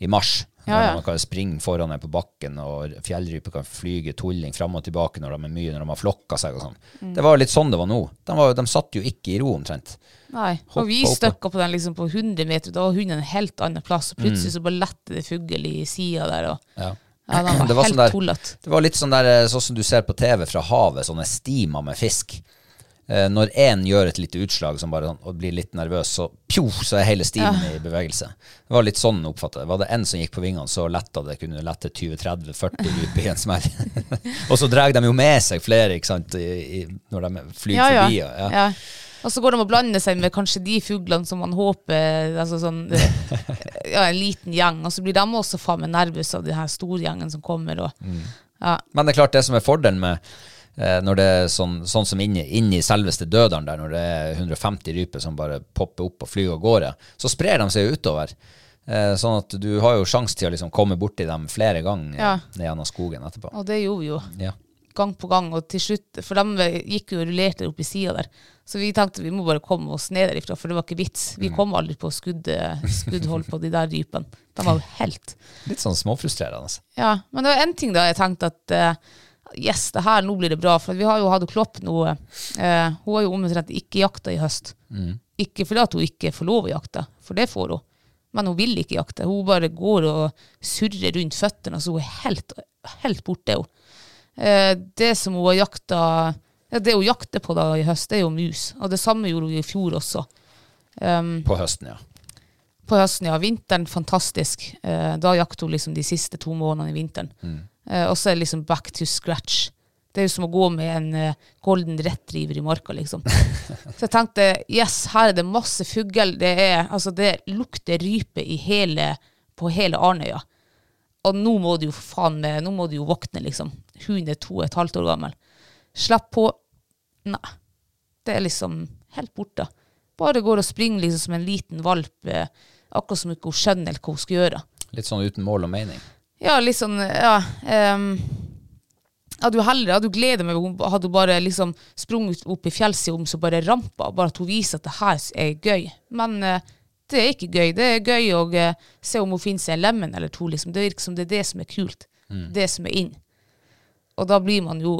[SPEAKER 1] i mars.
[SPEAKER 2] Ja, ja.
[SPEAKER 1] Når Man kan springe foran en på bakken, og fjellryper kan flyge tulling fram og tilbake når de er mye, når de har flokka seg og sånn.
[SPEAKER 2] Mm.
[SPEAKER 1] Det var jo litt sånn det var nå. De, var, jo- de satt jo ikke i ro omtrent.
[SPEAKER 2] Nei,
[SPEAKER 1] Hoppa
[SPEAKER 2] og vi
[SPEAKER 1] opp, da.
[SPEAKER 2] støkka på den liksom på 100 meter, da var hunden en helt annen plass. Og
[SPEAKER 1] Mm.
[SPEAKER 2] plutselig så bare lette det fugl i sida der. Og,
[SPEAKER 1] Ja.
[SPEAKER 2] ja,
[SPEAKER 1] (clears throat)
[SPEAKER 2] den var,
[SPEAKER 1] Det var sånn
[SPEAKER 2] helt
[SPEAKER 1] der-
[SPEAKER 2] tullete.
[SPEAKER 1] Det var litt sånn der, eh, sånn som du ser på TV fra havet, sånne stimer med fisk. Eh, når én gjør et lite utslag som bare, sånn- og blir litt nervøs, så, pjo, så er hele stimen i bevegelse. Det var litt sånn oppfattet. Var det én som gikk på vingene, så letta det kunne lette 20-30-40 ryper i en
[SPEAKER 2] (laughs)
[SPEAKER 1] smell. og så drar de jo med seg flere ikke sant, i, i, når de flyr forbi. og-
[SPEAKER 2] Ja. Og så går de og blander seg med kanskje de fuglene som man håper altså
[SPEAKER 1] (laughs)
[SPEAKER 2] sånn, Ja, en liten gjeng. Og så blir de også faen meg nervøse av den her storgjengen som kommer. Og,
[SPEAKER 1] Mm.
[SPEAKER 2] ja,
[SPEAKER 1] Men det er klart det som er fordelen med eh, når det er sånn, sånn som inne, inne i selveste døderen der, når det er 150 ryper som bare popper opp og flyr av gårde, så sprer de seg jo utover. Eh, sånn at du har jo sjanse til å liksom komme borti dem flere ganger
[SPEAKER 2] Ja.
[SPEAKER 1] eh, ned gjennom skogen etterpå.
[SPEAKER 2] og det gjorde vi jo.
[SPEAKER 1] Ja.
[SPEAKER 2] Gang på gang. Og til slutt For de gikk jo og rullerte opp i sida der. Så vi tenkte vi må bare komme oss ned derifra, for det var ikke vits.
[SPEAKER 1] Mm.
[SPEAKER 2] Vi kom aldri på skudd, skuddhold på de der rypene. De var jo helt
[SPEAKER 1] Litt sånn småfrustrerende.
[SPEAKER 2] Ja, men det var en ting da jeg tenkte at eh, yes, det her, nå blir det bra. For vi har jo hatt Klopp nå. eh, hun har jo omtrent ikke jakta i høst. Ikke fordi at hun ikke får lov å jakte, for det får hun. Men hun vil ikke jakte. Hun bare går og surrer rundt føttene, så hun er helt, helt borte. Hun. Eh, det som hun har jakta Ja, det hun jakter på da i høst, det er jo mus. Og det samme gjorde hun i fjor også. Um,
[SPEAKER 1] På høsten, ja.
[SPEAKER 2] på høsten, ja. Vinteren, fantastisk. Eh, da jakter hun liksom de siste to månedene i vinteren. Eh, og så er det liksom back to scratch. Det er jo som å gå med en eh, golden retriever i marka, liksom. så jeg tenkte yes, her er det masse fugl. Det, er- altså, det lukter rype i hele, på hele Arnøya. Og nå må du jo for faen meg, nå må du jo våkne, liksom. Hun er to og et halvt år gammel. Slipp på. Nei. Det er liksom helt borte. Bare går og springer liksom som en liten valp, eh, akkurat som ikke hun skjønner hva hun skal gjøre.
[SPEAKER 1] Litt sånn uten mål og mening.
[SPEAKER 2] Ja, litt sånn Ja. ehm, hadde jo heller hadde jo gledet meg om hun hadde hun bare liksom sprunget opp i fjellsida om så bare rampa, bare at hun viser at det her er gøy. Men eh, det er ikke gøy. Det er gøy å eh, se om hun finner seg en lemen eller to. liksom. Det virker som det er det som er kult. Det som er inn. Og da blir man jo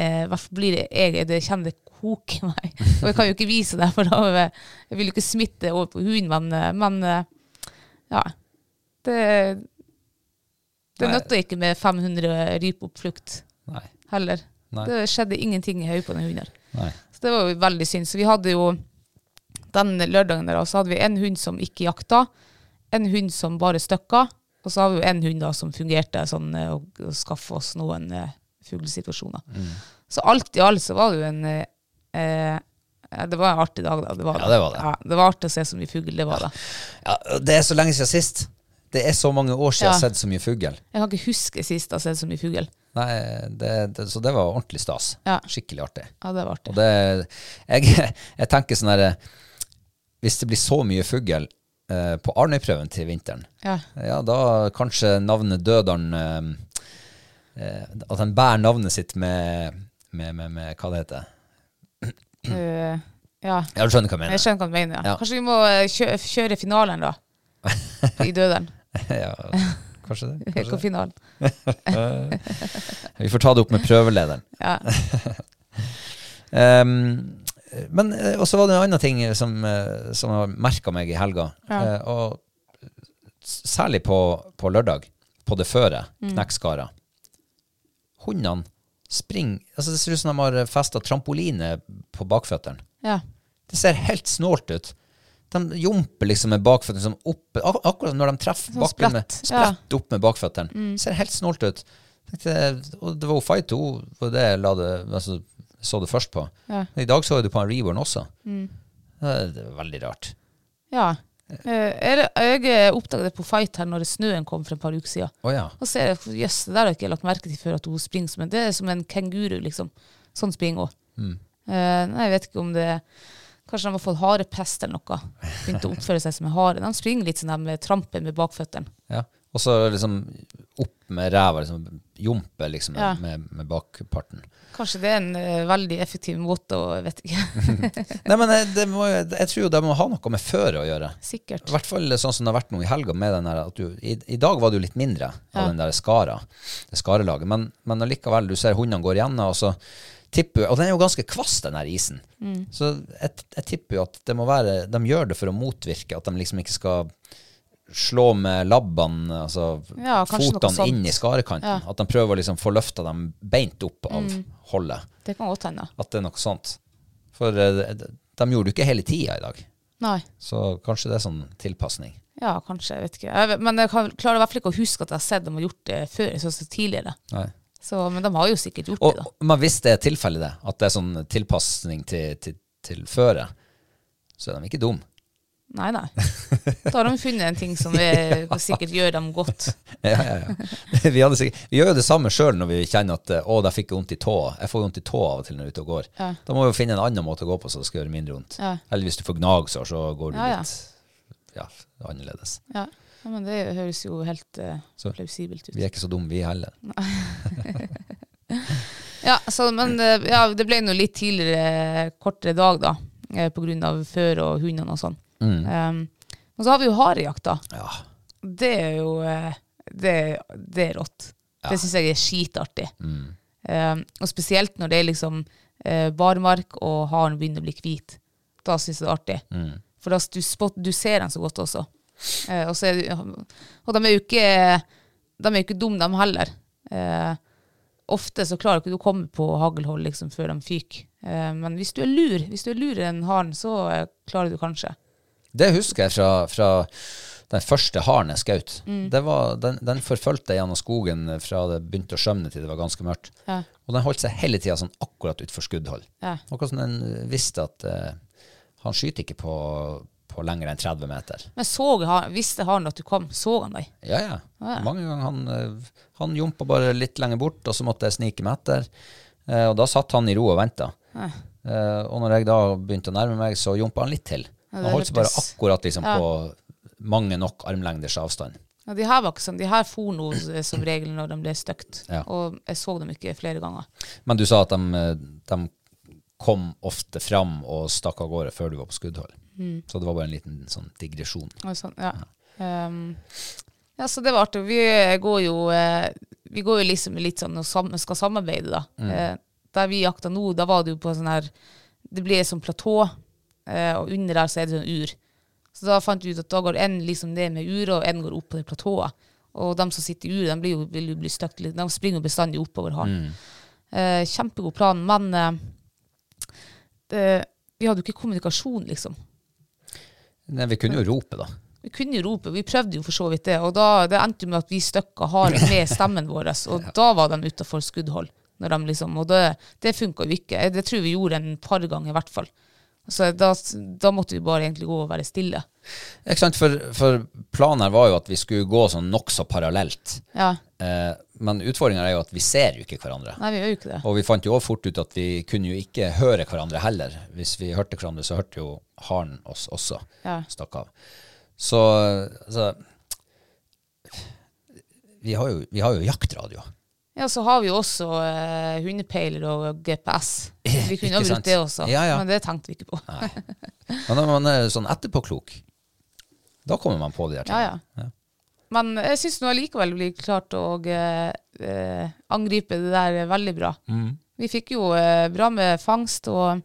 [SPEAKER 2] eh, hvert fall blir det jeg det kjenner det koker meg. Og jeg kan jo ikke vise det, for da vil jeg- jeg vil jo ikke smitte over på hunden, men, eh, men eh, ja. Det, det
[SPEAKER 1] Nei.
[SPEAKER 2] nøtter ikke med 500 rypeoppflukt
[SPEAKER 1] Nei.
[SPEAKER 2] heller.
[SPEAKER 1] Nei.
[SPEAKER 2] Det skjedde ingenting i hodet på den hunden. her.
[SPEAKER 1] Nei.
[SPEAKER 2] Så det var jo veldig synd. Så vi hadde jo den lørdagen der, så hadde vi en hund som ikke jakta, en hund som bare støkka, og så har vi jo en hund da som fungerte sånn eh, og, og skaffe oss noen eh, fuglesituasjoner.
[SPEAKER 1] Mm.
[SPEAKER 2] Så alt i alt så var det jo en eh, eh, ja, Det var en artig dag, da. Det var
[SPEAKER 1] Ja, det var det.
[SPEAKER 2] Ja, det var artig å se så mye fugl, det var det.
[SPEAKER 1] Ja, det er så lenge siden sist. Det er så mange år siden jeg har
[SPEAKER 2] Ja.
[SPEAKER 1] sett så mye fugl.
[SPEAKER 2] Jeg kan ikke huske sist jeg har sett så mye fugl.
[SPEAKER 1] Nei, det, det, så det var ordentlig stas.
[SPEAKER 2] Ja.
[SPEAKER 1] Skikkelig artig.
[SPEAKER 2] Ja, det var
[SPEAKER 1] Og
[SPEAKER 2] artig.
[SPEAKER 1] det, jeg, (laughs) jeg tenker sånn herre Hvis det blir så mye fugl eh, på Arnøyprøven til vinteren, (clears throat)
[SPEAKER 2] Ja.
[SPEAKER 1] ja, da kanskje navnet Dødalen eh, eh, At han bærer navnet sitt med, med, med, med Hva det heter
[SPEAKER 2] Eh, ja.
[SPEAKER 1] Ja, du skjønner hva jeg
[SPEAKER 2] Jeg
[SPEAKER 1] mener?
[SPEAKER 2] skjønner hva du mener. Ja.
[SPEAKER 1] Ja.
[SPEAKER 2] Kanskje vi må eh, kjø kjøre finalen, da. I (laughs) Dødelen.
[SPEAKER 1] (laughs) ja, kanskje det. Kanskje det.
[SPEAKER 2] Finalen.
[SPEAKER 1] Vi får ta det opp med prøvelederen.
[SPEAKER 2] Ja.
[SPEAKER 1] Ehm, men eh, og så var det en annen ting som, eh, som har merka meg i helga.
[SPEAKER 2] Ja.
[SPEAKER 1] Eh, og s- særlig på, på lørdag, på det føre, knekkskara. Hundene springer altså Det ser ut som de har festa trampoline på bakføttene.
[SPEAKER 2] ja.
[SPEAKER 1] Det ser helt snålt ut. De jumper liksom med bakføttene som opp, ak akkurat når de treffer
[SPEAKER 2] Sånn
[SPEAKER 1] bakken med
[SPEAKER 2] splatt, ja. Mm.
[SPEAKER 1] splett opp med bakføttene. Ser helt snålt ut. Tenkte, og det var jo fight, hun var det jeg la det, altså, så det først på.
[SPEAKER 2] Ja. Mm.
[SPEAKER 1] Men I dag så jeg det på en reborn også. Det er- Det er veldig rart.
[SPEAKER 2] ja. Eh, er det- Jeg oppdaget det på Fight her når snøen kom for et par uker siden.
[SPEAKER 1] Å ja.
[SPEAKER 2] Da ser jeg, jøss, det der har jeg ikke lagt merke til før at hun springer som en Det er som en kenguru, liksom. Sånn springer hun. Eh, nei, jeg vet ikke om det Kanskje de har fått harepest eller noe. Begynt å oppføre seg som en hare. De springer litt sånn der med trampen med bakføttene.
[SPEAKER 1] ja. Og så liksom opp med ræva, liksom jumpe liksom
[SPEAKER 2] Ja.
[SPEAKER 1] med, med bakparten.
[SPEAKER 2] Kanskje det er en eh, veldig effektiv måte å Jeg vet ikke. (laughs)
[SPEAKER 1] Nei, men eh, det må, jo- jeg tror jo det må ha noe med føret å gjøre.
[SPEAKER 2] Sikkert.
[SPEAKER 1] I hvert fall sånn som det har vært nå i helga. med den her, at du, i, I dag var det jo litt mindre av
[SPEAKER 2] Ja.
[SPEAKER 1] den der skara, det skarelaget. Men, men allikevel, du ser hundene går igjennom, og så tipper jo Og den er jo ganske kvass, den her isen.
[SPEAKER 2] Mm.
[SPEAKER 1] Så jeg, jeg tipper jo at det må være, de gjør det for å motvirke at de liksom ikke skal slå med labbene, altså
[SPEAKER 2] Ja, kanskje noe
[SPEAKER 1] fotene
[SPEAKER 2] sånt.
[SPEAKER 1] inn i skarekanten.
[SPEAKER 2] Ja. Mm.
[SPEAKER 1] At de prøver å liksom få løfta dem beint opp av holdet.
[SPEAKER 2] Det kan godt hende.
[SPEAKER 1] At det er noe sånt. For eh, de, de gjorde det jo ikke hele tida i dag.
[SPEAKER 2] Nei.
[SPEAKER 1] Så kanskje det er sånn tilpasning.
[SPEAKER 2] Ja, kanskje. Jeg vet ikke. Jeg, vet- men jeg kan, klarer i hvert fall ikke å huske at jeg har sett dem har gjort det før. sånn som tidligere.
[SPEAKER 1] Nei.
[SPEAKER 2] Så, men de har jo sikkert gjort
[SPEAKER 1] Og,
[SPEAKER 2] det, da.
[SPEAKER 1] men hvis det er tilfellet det, at det er sånn tilpasning til, til, til føre, så er de ikke
[SPEAKER 2] (laughs)
[SPEAKER 1] dum.
[SPEAKER 2] Nei, nei. Da har de funnet en ting som
[SPEAKER 1] (laughs)
[SPEAKER 2] er, sikkert gjør dem godt.
[SPEAKER 1] Ja, ja, ja. Vi, hadde sikkert, vi gjør jo det samme sjøl når vi kjenner at eh, å, der fikk jeg vondt i tåa. Jeg får vondt i tåa av og til når jeg er ute og går.
[SPEAKER 2] Ja.
[SPEAKER 1] Da må vi jo finne en annen måte å gå på så det skal gjøre mindre vondt.
[SPEAKER 2] Ja.
[SPEAKER 1] Eller hvis du får gnagsår, så går du
[SPEAKER 2] Ja, ja.
[SPEAKER 1] litt ja, annerledes.
[SPEAKER 2] Ja, ja men det høres jo helt eh,
[SPEAKER 1] Så-
[SPEAKER 2] plausibelt ut.
[SPEAKER 1] Vi er ikke så dumme, vi heller.
[SPEAKER 2] Ja, så, men eh, ja, det ble nå litt tidligere, kortere dag, da. eh, På grunn av før og hundene og sånn.
[SPEAKER 1] Mm.
[SPEAKER 2] Um, og så har vi jo harejakt, da.
[SPEAKER 1] Ja.
[SPEAKER 2] Det er jo eh, Det, det er rått. Det syns jeg er skitartig. Um, og spesielt når det er liksom eh, barmark og haren begynner å bli hvit. Da syns jeg det er artig. For da s- du, spot, du ser den så godt også. Eh, og, så er, du- og de er jo ikke De er jo ikke dumme, de heller. Eh, ofte så klarer ikke du å komme på haglhold liksom, før de fyker. Eh, men hvis du er lur, hvis du er lurere enn haren, så eh, klarer du kanskje.
[SPEAKER 1] Det husker jeg fra, fra den første haren jeg skjøt.
[SPEAKER 2] Mm.
[SPEAKER 1] Det var- Den, den forfulgte jeg gjennom skogen fra det begynte å skjømne til det var ganske mørkt.
[SPEAKER 2] Ja.
[SPEAKER 1] Og den holdt seg hele tida sånn akkurat utfor skuddhold.
[SPEAKER 2] Ja.
[SPEAKER 1] Akkurat som den visste at eh, han skyter ikke på, på lenger enn 30 meter.
[SPEAKER 2] Men så han, visste haren at du kom? Så han deg?
[SPEAKER 1] Ja, ja.
[SPEAKER 2] ja.
[SPEAKER 1] Mange ganger han, eh, han jumpa bare litt lenger bort, og så måtte jeg snike meg etter. Eh, Og da satt han i ro og venta. Og når jeg da begynte å nærme meg, så jumpa han litt til.
[SPEAKER 2] Ja,
[SPEAKER 1] Han
[SPEAKER 2] det
[SPEAKER 1] holdt seg bare
[SPEAKER 2] hørtes-
[SPEAKER 1] akkurat liksom
[SPEAKER 2] Ja.
[SPEAKER 1] på mange nok armlengders avstand.
[SPEAKER 2] Ja, de her var ikke sånn. De her for nå eh, som regel når de ble støkt.
[SPEAKER 1] Ja.
[SPEAKER 2] Og jeg så dem ikke flere ganger.
[SPEAKER 1] Men du sa at de, eh, de kom ofte fram og stakk av gårde før du var på skuddhold.
[SPEAKER 2] Mm.
[SPEAKER 1] Så det var bare en liten sånn digresjon.
[SPEAKER 2] Og Sånn, ja. Ehm, ja, så det var artig. Vi går jo, eh, vi går jo liksom litt sånn og sam skal samarbeide, da. Eh, der vi jakta nå, da var det jo på sånn her Det blir et sånt platå, eh, og under der så er det sånn ur. Så da fant vi ut at da går en liksom ned med uret, og en går opp på det platået. Og de som sitter i uret, de blir jo, vil jo bli støkt litt. De springer jo bestandig oppover haren. Eh, kjempegod plan, men eh, det, vi hadde jo ikke kommunikasjon, liksom.
[SPEAKER 1] Nei, vi kunne jo rope, da.
[SPEAKER 2] Vi kunne jo rope, vi prøvde jo for så vidt det, og da, det endte jo med at vi
[SPEAKER 1] (laughs)
[SPEAKER 2] støkka haren med stemmen vår, og da var de utafor skuddhold. Når de liksom, og det, det funka jo ikke. Det tror jeg vi gjorde en par ganger i hvert fall. Så da, da måtte vi bare egentlig gå og være stille.
[SPEAKER 1] Ikke sant? For, for planen her var jo at vi skulle gå sånn nokså parallelt.
[SPEAKER 2] Ja,
[SPEAKER 1] Eh, men utfordringa er jo at vi ser jo ikke hverandre.
[SPEAKER 2] Nei, vi gjør jo ikke det.
[SPEAKER 1] Og vi fant jo også fort ut at vi kunne jo ikke høre hverandre heller. Hvis vi hørte hverandre, så hørte jo haren oss også.
[SPEAKER 2] Ja.
[SPEAKER 1] Stakk av. Så, så vi, har jo, vi har jo jaktradio.
[SPEAKER 2] Ja, Så har vi jo også eh, hundepeiler og GPS. Vi
[SPEAKER 1] Ikke
[SPEAKER 2] kunne jo
[SPEAKER 1] sant?
[SPEAKER 2] brukt det også,
[SPEAKER 1] Ja, ja.
[SPEAKER 2] men det tenkte vi ikke på.
[SPEAKER 1] Men når man er sånn etterpåklok, da kommer man på de der
[SPEAKER 2] Ja,
[SPEAKER 1] tingene.
[SPEAKER 2] ja. Men jeg syns nå allikevel vi klarte å eh, eh, angripe det der veldig bra. Vi fikk jo eh, bra med fangst, og,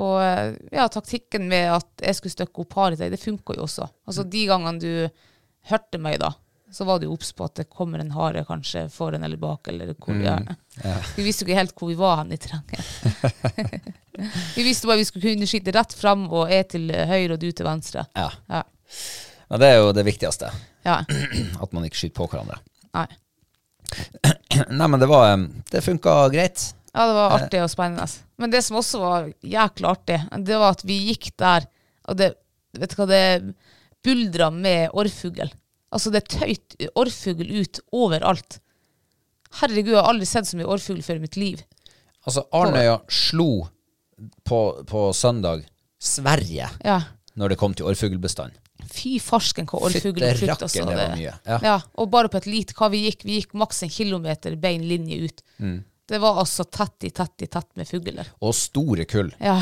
[SPEAKER 2] og eh, ja, taktikken med at jeg skulle støkke opp haret til, det funka jo også. Altså De gangene du hørte meg, da, så var du obs på at det kommer en hare kanskje foran eller bak, eller hvor vi er. Vi visste jo ikke helt hvor vi var hen i terrenget. vi visste bare vi skulle kunne skyte rett fram, og jeg til høyre og du til venstre.
[SPEAKER 1] Ja.
[SPEAKER 2] Ja.
[SPEAKER 1] Men det er jo det viktigste.
[SPEAKER 2] ja.
[SPEAKER 1] At man ikke skyter på hverandre. (clears throat)
[SPEAKER 2] Nei.
[SPEAKER 1] Nei, men det var em, Det funka greit.
[SPEAKER 2] Ja, det var artig og spennende. Men det som også var jækla artig, det var at vi gikk der, og det, vet du hva, det buldra med orrfugl. Altså, det tøyt orrfugl ut overalt. Herregud, jeg har aldri sett så mye orrfugl før i mitt liv.
[SPEAKER 1] Altså, Arnøya slo på, på søndag Sverige
[SPEAKER 2] Ja.
[SPEAKER 1] når det kom til orrfuglbestand.
[SPEAKER 2] Fy farsken hva orrfugl
[SPEAKER 1] Fytte
[SPEAKER 2] og frukt
[SPEAKER 1] rakker,
[SPEAKER 2] altså,
[SPEAKER 1] det var mye. Ja.
[SPEAKER 2] Ja. og bare på et lite hva vi gikk. Vi gikk maks en kilometer bein linje ut.
[SPEAKER 1] Mm.
[SPEAKER 2] Det var altså tett i tett i tett med fugler.
[SPEAKER 1] Og store kull.
[SPEAKER 2] Ja,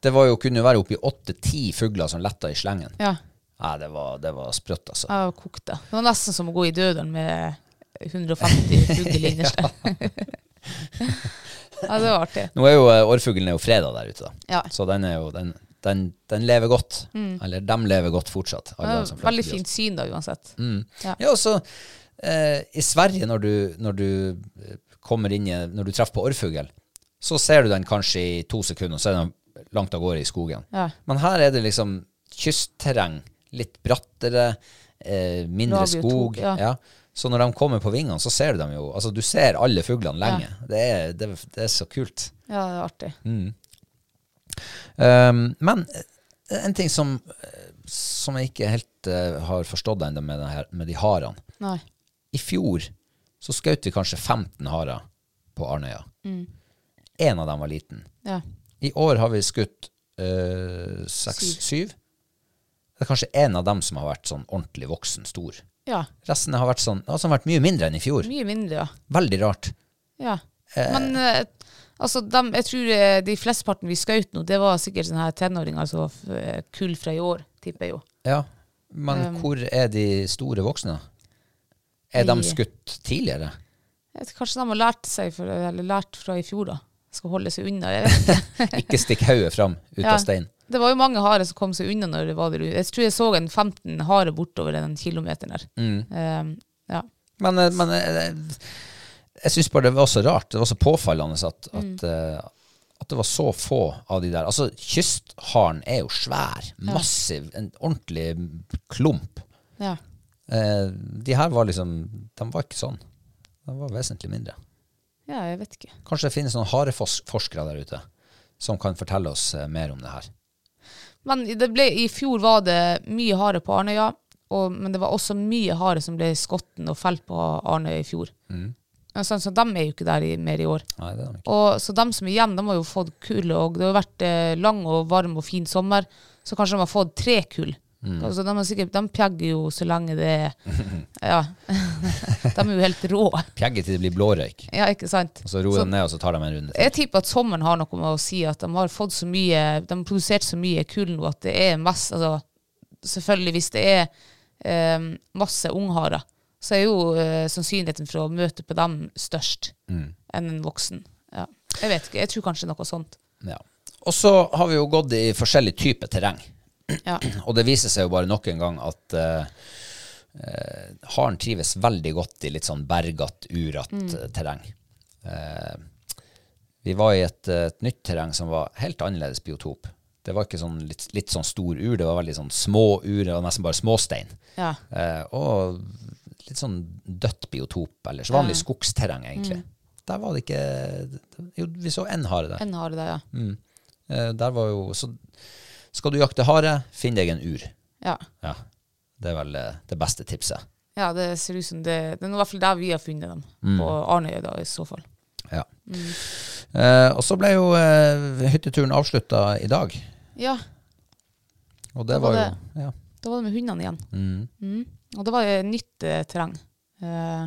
[SPEAKER 1] Det var jo, kunne jo være oppi åtte-ti fugler som letta i slengen.
[SPEAKER 2] ja.
[SPEAKER 1] Nei, det var, det var sprøtt, altså.
[SPEAKER 2] Jeg var kokt, da. Det var nesten som å gå i dødene med (laughs) 150 fugler innerst. ja, det var artig.
[SPEAKER 1] Nå er jo eh, orrfuglen er jo freda der ute, da.
[SPEAKER 2] Ja.
[SPEAKER 1] Så den er jo den, den, den lever godt. Eller dem lever godt fortsatt. alle
[SPEAKER 2] Det
[SPEAKER 1] dem som
[SPEAKER 2] var
[SPEAKER 1] flytter
[SPEAKER 2] veldig
[SPEAKER 1] dit.
[SPEAKER 2] fint syn da, uansett. Ja.
[SPEAKER 1] Ja, og så eh, i Sverige, når du, når du eh, kommer inn i Når du treffer på orrfugl, så ser du den kanskje i to sekunder, og så er den langt av gårde i skogen.
[SPEAKER 2] Ja.
[SPEAKER 1] Men her er det liksom kystterreng, litt brattere, eh, mindre
[SPEAKER 2] Lager jo
[SPEAKER 1] skog.
[SPEAKER 2] tog, ja.
[SPEAKER 1] Så når de kommer på vingene, så ser du dem jo Altså, du ser alle fuglene lenge. Det, er, det, det er så kult.
[SPEAKER 2] Ja, det var artig.
[SPEAKER 1] Um, men eh, en ting som, eh, som jeg ikke helt eh, har forstått ennå med, den her- med de harene
[SPEAKER 2] Nei.
[SPEAKER 1] I fjor så skjøt vi kanskje 15 harer på Arnøya.
[SPEAKER 2] Mm.
[SPEAKER 1] Én av dem var liten.
[SPEAKER 2] Ja.
[SPEAKER 1] I år har vi skutt eh, seks, syv. Det er kanskje én av dem som har vært sånn ordentlig voksen, stor.
[SPEAKER 2] ja.
[SPEAKER 1] Resten har vært sånn, altså, har vært mye mindre enn i fjor.
[SPEAKER 2] Mye mindre, ja.
[SPEAKER 1] Veldig rart.
[SPEAKER 2] ja. Men eh, altså, dem, jeg tror eh, de flesteparten vi skjøt nå, det var sikkert sånne her tenåringer, altså f- eh, kull fra i år, tipper jeg jo.
[SPEAKER 1] Ja, Men hvor er de store voksne? Er Ehm. de
[SPEAKER 2] de-
[SPEAKER 1] skutt tidligere?
[SPEAKER 2] Jeg vet, kanskje de har lært seg, for, eller lært fra i fjor, da. Skal holde seg unna. Jeg vet ikke.
[SPEAKER 1] Ikke stikk hodet fram ut
[SPEAKER 2] Ja.
[SPEAKER 1] av steinen.
[SPEAKER 2] Det var jo mange harer som kom seg unna når det var der ute. Jeg tror jeg så en 15
[SPEAKER 1] Mm.
[SPEAKER 2] Ehm, hare bortover den kilometeren der. Eh, ja.
[SPEAKER 1] Men, eh, men eh, jeg syns bare det var så rart. Det var så påfallende at, at, eh, at det var så få av de der. Altså, kystharen er jo svær, massiv, en ordentlig klump.
[SPEAKER 2] Ja.
[SPEAKER 1] Eh, de her var liksom De var ikke sånn. De var vesentlig mindre.
[SPEAKER 2] ja, jeg vet ikke.
[SPEAKER 1] Kanskje det finnes noen hareforskere der ute som kan fortelle oss eh, mer om det her.
[SPEAKER 2] Men det ble, i fjor var det mye hare på Arnøya, og, men det var også mye hare som ble skotten og felt på Arnøya i fjor. Sånn, så de er jo ikke der i, mer i år.
[SPEAKER 1] Nei, det er de ikke.
[SPEAKER 2] Og, så de som er igjen, de har jo fått kull, og det har jo vært eh, lang og varm og fin sommer, så kanskje de har fått tre kull. Altså, de, er sikkert, de pjegger jo så lenge det Ja. (laughs) de er jo helt rå.
[SPEAKER 1] Pjegget til det blir blårøyk,
[SPEAKER 2] Ja, ikke sant?
[SPEAKER 1] og så roer
[SPEAKER 2] Så-
[SPEAKER 1] de ned og så tar de en runde til.
[SPEAKER 2] jeg tipper at sommeren har noe med å si at de har fått så mye De har produsert så mye kull nå at det er masse altså, Selvfølgelig, hvis det er eh, masse ungharer, så er jo eh, sannsynligheten for å møte på dem størst
[SPEAKER 1] Mm.
[SPEAKER 2] enn en voksen. Ja. Jeg vet ikke, jeg tror kanskje noe sånt.
[SPEAKER 1] Ja. Og så har vi jo gått i forskjellig type terreng.
[SPEAKER 2] Ja.
[SPEAKER 1] (clears throat) Og det viser seg jo bare nok en gang at eh, eh, haren trives veldig godt i litt sånn bergat, urat eh, terreng. Eh, vi var i et, eh, et nytt terreng som var helt annerledes biotop. Det var ikke sånn litt, litt sånn stor ur, det var veldig sånn små ur, det var nesten bare småstein.
[SPEAKER 2] Ja.
[SPEAKER 1] Eh, og litt sånn dødt biotop ellers. Vanlig skogsterreng, egentlig. Der var det ikke Jo, vi så én hare der.
[SPEAKER 2] En hare der, ja.
[SPEAKER 1] Eh, der var jo Så skal du jakte hare, finn deg en ur.
[SPEAKER 2] ja.
[SPEAKER 1] Ja. Det er vel eh, det beste tipset.
[SPEAKER 2] Ja, det ser ut som det Det er nå i hvert fall der vi har funnet dem,
[SPEAKER 1] Mm.
[SPEAKER 2] på Arnøya da, i så fall.
[SPEAKER 1] Ja. Eh, og så ble jo eh, hytteturen avslutta i dag.
[SPEAKER 2] Ja,
[SPEAKER 1] Og det var
[SPEAKER 2] var
[SPEAKER 1] jo
[SPEAKER 2] det.
[SPEAKER 1] ja.
[SPEAKER 2] Da var det med hundene igjen.
[SPEAKER 1] Mm.
[SPEAKER 2] Mm. Og det var eh, nytt eh, terreng. Eh,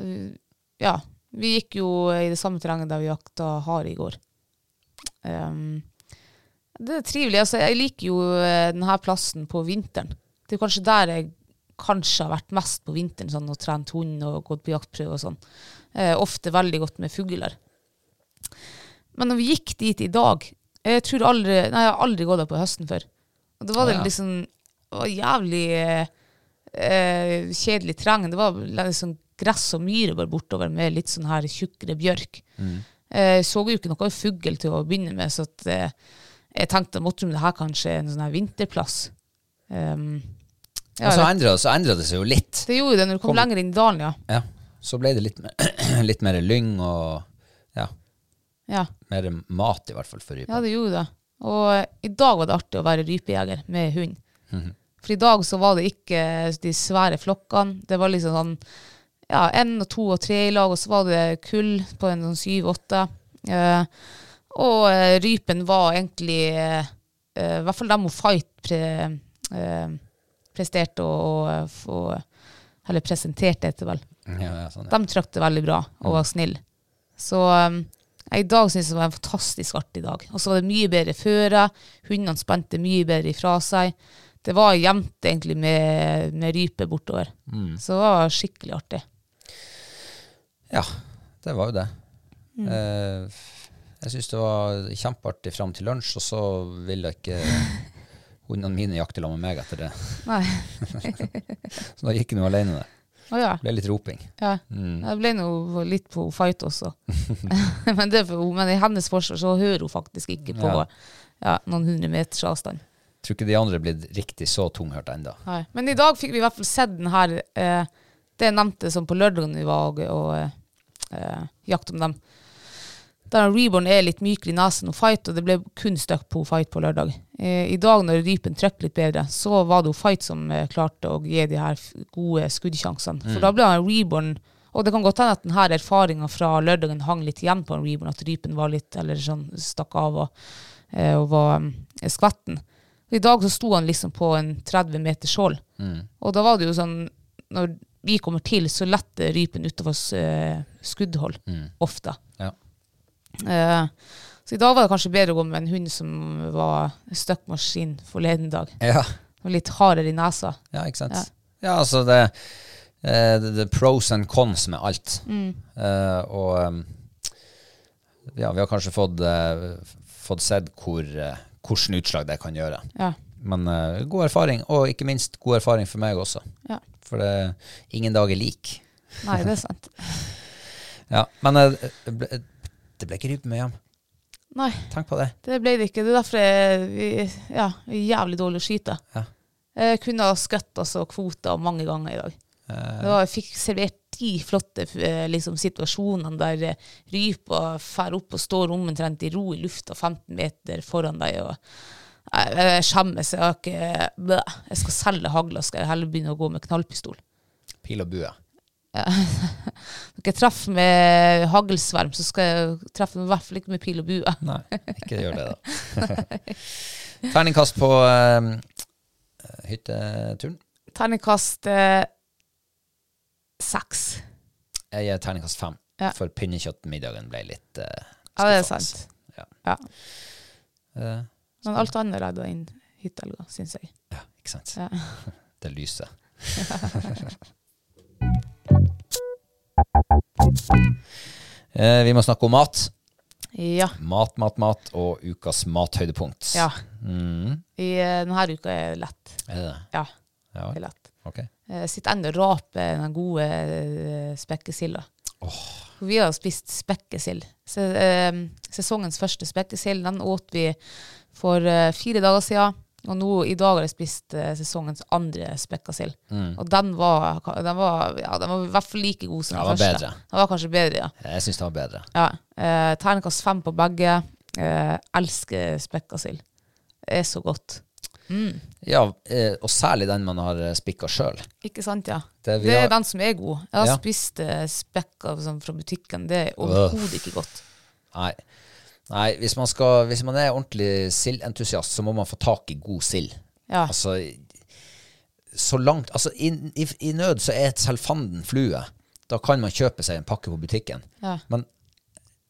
[SPEAKER 2] eh, ja. Vi gikk jo i det samme terrenget der vi jakta hare i går. Ehm, det er trivelig. Altså, jeg liker jo eh, denne plassen på vinteren. Det er jo kanskje der jeg kanskje har vært mest på vinteren, sånn, og trent hund og gått på jaktprøve og sånn. Eh, ofte veldig godt med fugler. Men når vi gikk dit i dag Jeg tror aldri Nei, jeg har aldri gått der på høsten før. Og det
[SPEAKER 1] Å,
[SPEAKER 2] var det
[SPEAKER 1] ja.
[SPEAKER 2] liksom det var jævlig eh, eh, kjedelig terreng. Det var liksom gress og myrer bare bortover med litt sånn her tjukkere bjørk.
[SPEAKER 1] Mm.
[SPEAKER 2] Eh, så jo ikke noe fugl til å begynne med, så at, eh, jeg tenkte at det her kanskje er en sånn her vinterplass. Ehm,
[SPEAKER 1] Og
[SPEAKER 2] ja,
[SPEAKER 1] så
[SPEAKER 2] jeg vet-
[SPEAKER 1] endra, så endra det seg jo litt.
[SPEAKER 2] det gjorde det når du kom,
[SPEAKER 1] Altså, Kom-
[SPEAKER 2] lenger inn i dalen, ja.
[SPEAKER 1] Ja. Så ble det litt, mer- (clears throat) litt mer lyng og ja,
[SPEAKER 2] ja.
[SPEAKER 1] mer mat, i hvert fall, for
[SPEAKER 2] Ja,
[SPEAKER 1] rypa.
[SPEAKER 2] det gjorde det. Og eh, i dag var det artig å være rypejeger med hund. For i dag så var det ikke de svære flokkene. Det var liksom sånn ja, én og to og tre i lag, og så var det kull på en sånn syv-åtte. Eh, og eh, rypen var egentlig eh, eh, I hvert fall dem hun Fight pre, eh, presterte og, og, få- Eller presenterte, heter det vel.
[SPEAKER 1] Ja, ja, sånn, ja.
[SPEAKER 2] De trakk det veldig bra og var snille. Så um, jeg, i dag syns jeg det var en fantastisk artig dag. Og så var det mye bedre føre. Hundene spente mye bedre ifra seg. Det var jevnt egentlig med, med rype bortover. Så det var skikkelig artig.
[SPEAKER 1] Ja, det var jo det.
[SPEAKER 2] Mm.
[SPEAKER 1] Eh, jeg syns det var kjempeartig fram til lunsj, og så ville ikke
[SPEAKER 2] (laughs)
[SPEAKER 1] hundene mine jakte sammen med meg etter det.
[SPEAKER 2] Nei.
[SPEAKER 1] Så da gikk jeg nå alene der.
[SPEAKER 2] Å ja.
[SPEAKER 1] Det ble litt roping.
[SPEAKER 2] ja. Jeg ble nå litt på fight også. men, det er for, men i hennes forsvar så hører hun faktisk ikke på
[SPEAKER 1] Ja.
[SPEAKER 2] ja. noen hundre meters avstand.
[SPEAKER 1] Tror ikke de andre er blitt riktig så tunghørt enda.
[SPEAKER 2] Nei. Men i dag fikk vi i hvert fall sett den her eh, Det jeg nevnte som på lørdagen vi var og, og eh, eh, jakta med dem. Der Reborn er litt mykere i nesen og fight, og det ble kun støkk på fight på lørdag. Eh, I dag når rypen trøkk litt bedre, så var det jo fight som eh, klarte å gi de her f- gode skuddsjansene. For da ble han Reborn Og det kan godt hende at den her erfaringa fra lørdagen hang litt igjen på en Reborn, at rypen var litt eller sånn stakk av og, eh, og var mm, skvetten. I dag så sto han liksom på en 30 meters skjold.
[SPEAKER 1] Mm,
[SPEAKER 2] Og da var det jo sånn Når vi kommer til, så letter rypen utover eh, skuddhold.
[SPEAKER 1] mm.
[SPEAKER 2] Ofte.
[SPEAKER 1] Ja.
[SPEAKER 2] Eh, så i dag var det kanskje bedre å gå med en hund som var støkkmaskin forleden dag.
[SPEAKER 1] Ja,
[SPEAKER 2] Og litt hardere i nesa.
[SPEAKER 1] ikke sant? Ja, altså det, eh, det, det er pros and cons med alt. Eh, og um, ja, vi har kanskje fått, eh, f- fått sett hvor, eh, hvordan utslag det kan gjøre.
[SPEAKER 2] Ja.
[SPEAKER 1] Men eh, god erfaring, og ikke minst god erfaring for meg også.
[SPEAKER 2] ja.
[SPEAKER 1] For det, ingen dag er lik.
[SPEAKER 2] Nei, det er sant.
[SPEAKER 1] Ja, men eh, det ble, det ble ikke rype med hjem.
[SPEAKER 2] Nei,
[SPEAKER 1] Tenk på det.
[SPEAKER 2] det ble det ikke. Det er derfor jeg vi- ja, jeg er jævlig dårlig å skyte.
[SPEAKER 1] Ja.
[SPEAKER 2] Jeg kunne ha skutt altså, kvoter mange ganger i dag.
[SPEAKER 1] Eh,
[SPEAKER 2] Det var, jeg fikk servert de flotte f- eh, liksom, situasjonene der eh, rypa fer opp og står omtrent i ro i lufta 15 meter foran deg. og Nei, jeg, jeg skjemmes. Jeg, har ikke, Bæ. jeg skal selge hagla, skal jeg heller begynne å gå med knallpistol.
[SPEAKER 1] pil og bue.
[SPEAKER 2] (laughs) Når jeg treffer med haglsverm, så skal jeg treffe med i hvert fall ikke med pil og bue.
[SPEAKER 1] Nei, ikke gjør det, da.
[SPEAKER 2] (laughs)
[SPEAKER 1] (laughs) Terningkast på eh, hytteturen.
[SPEAKER 2] Terningkast eh, seks.
[SPEAKER 1] Jeg gir terningkast fem,
[SPEAKER 2] Ja.
[SPEAKER 1] for pinnekjøttmiddagen ble litt eh,
[SPEAKER 2] Ja, det er
[SPEAKER 1] skuffende.
[SPEAKER 2] sant.
[SPEAKER 1] Ja.
[SPEAKER 2] Ja.
[SPEAKER 1] Eh,
[SPEAKER 2] Men alt annet redda inn hytteelga, syns jeg.
[SPEAKER 1] ja, ikke sant.
[SPEAKER 2] Ja.
[SPEAKER 1] (laughs) Det
[SPEAKER 2] (laughs)
[SPEAKER 1] lyset. Eh, vi må snakke om mat.
[SPEAKER 2] Ja.
[SPEAKER 1] Mat, mat, mat og ukas mathøydepunkt.
[SPEAKER 2] ja.
[SPEAKER 1] Mm.
[SPEAKER 2] I, eh, denne uka er det lett.
[SPEAKER 1] Er det det?
[SPEAKER 2] Ja,
[SPEAKER 1] Ja,
[SPEAKER 2] det er lett.
[SPEAKER 1] ok.
[SPEAKER 2] Eh, sitter ennå og raper den gode eh, spekkesilla. For Vi har spist spekkesild. Se, eh, sesongens første spekkesild, den åt vi for eh, fire dager siden. Og nå, i dag har jeg spist eh, sesongens andre spekkesild.
[SPEAKER 1] Mm.
[SPEAKER 2] Og den var, den, var, ja, den var i hvert fall like god som
[SPEAKER 1] Ja,
[SPEAKER 2] den
[SPEAKER 1] den var
[SPEAKER 2] første.
[SPEAKER 1] bedre.
[SPEAKER 2] Den var kanskje bedre, ja.
[SPEAKER 1] Jeg syns det var bedre.
[SPEAKER 2] ja. Eh, Terningkast fem på begge. Eh, elsker spekkesild. Det er så godt. Mm.
[SPEAKER 1] Ja, eh, og særlig den man har eh, spikka sjøl.
[SPEAKER 2] Ikke sant, ja.
[SPEAKER 1] Det
[SPEAKER 2] Det,
[SPEAKER 1] vi
[SPEAKER 2] er
[SPEAKER 1] har-
[SPEAKER 2] den som er god. Jeg har
[SPEAKER 1] Ja.
[SPEAKER 2] spist eh, spekk av, sånn, fra butikken. Det er overhodet ikke godt.
[SPEAKER 1] Nei. Nei hvis, man skal, hvis man er ordentlig sildentusiast, så må man få tak i god sild.
[SPEAKER 2] Ja.
[SPEAKER 1] Altså, så langt Altså, i, i, i nød så er et selvfanden flue. Da kan man kjøpe seg en pakke på butikken.
[SPEAKER 2] Ja.
[SPEAKER 1] Men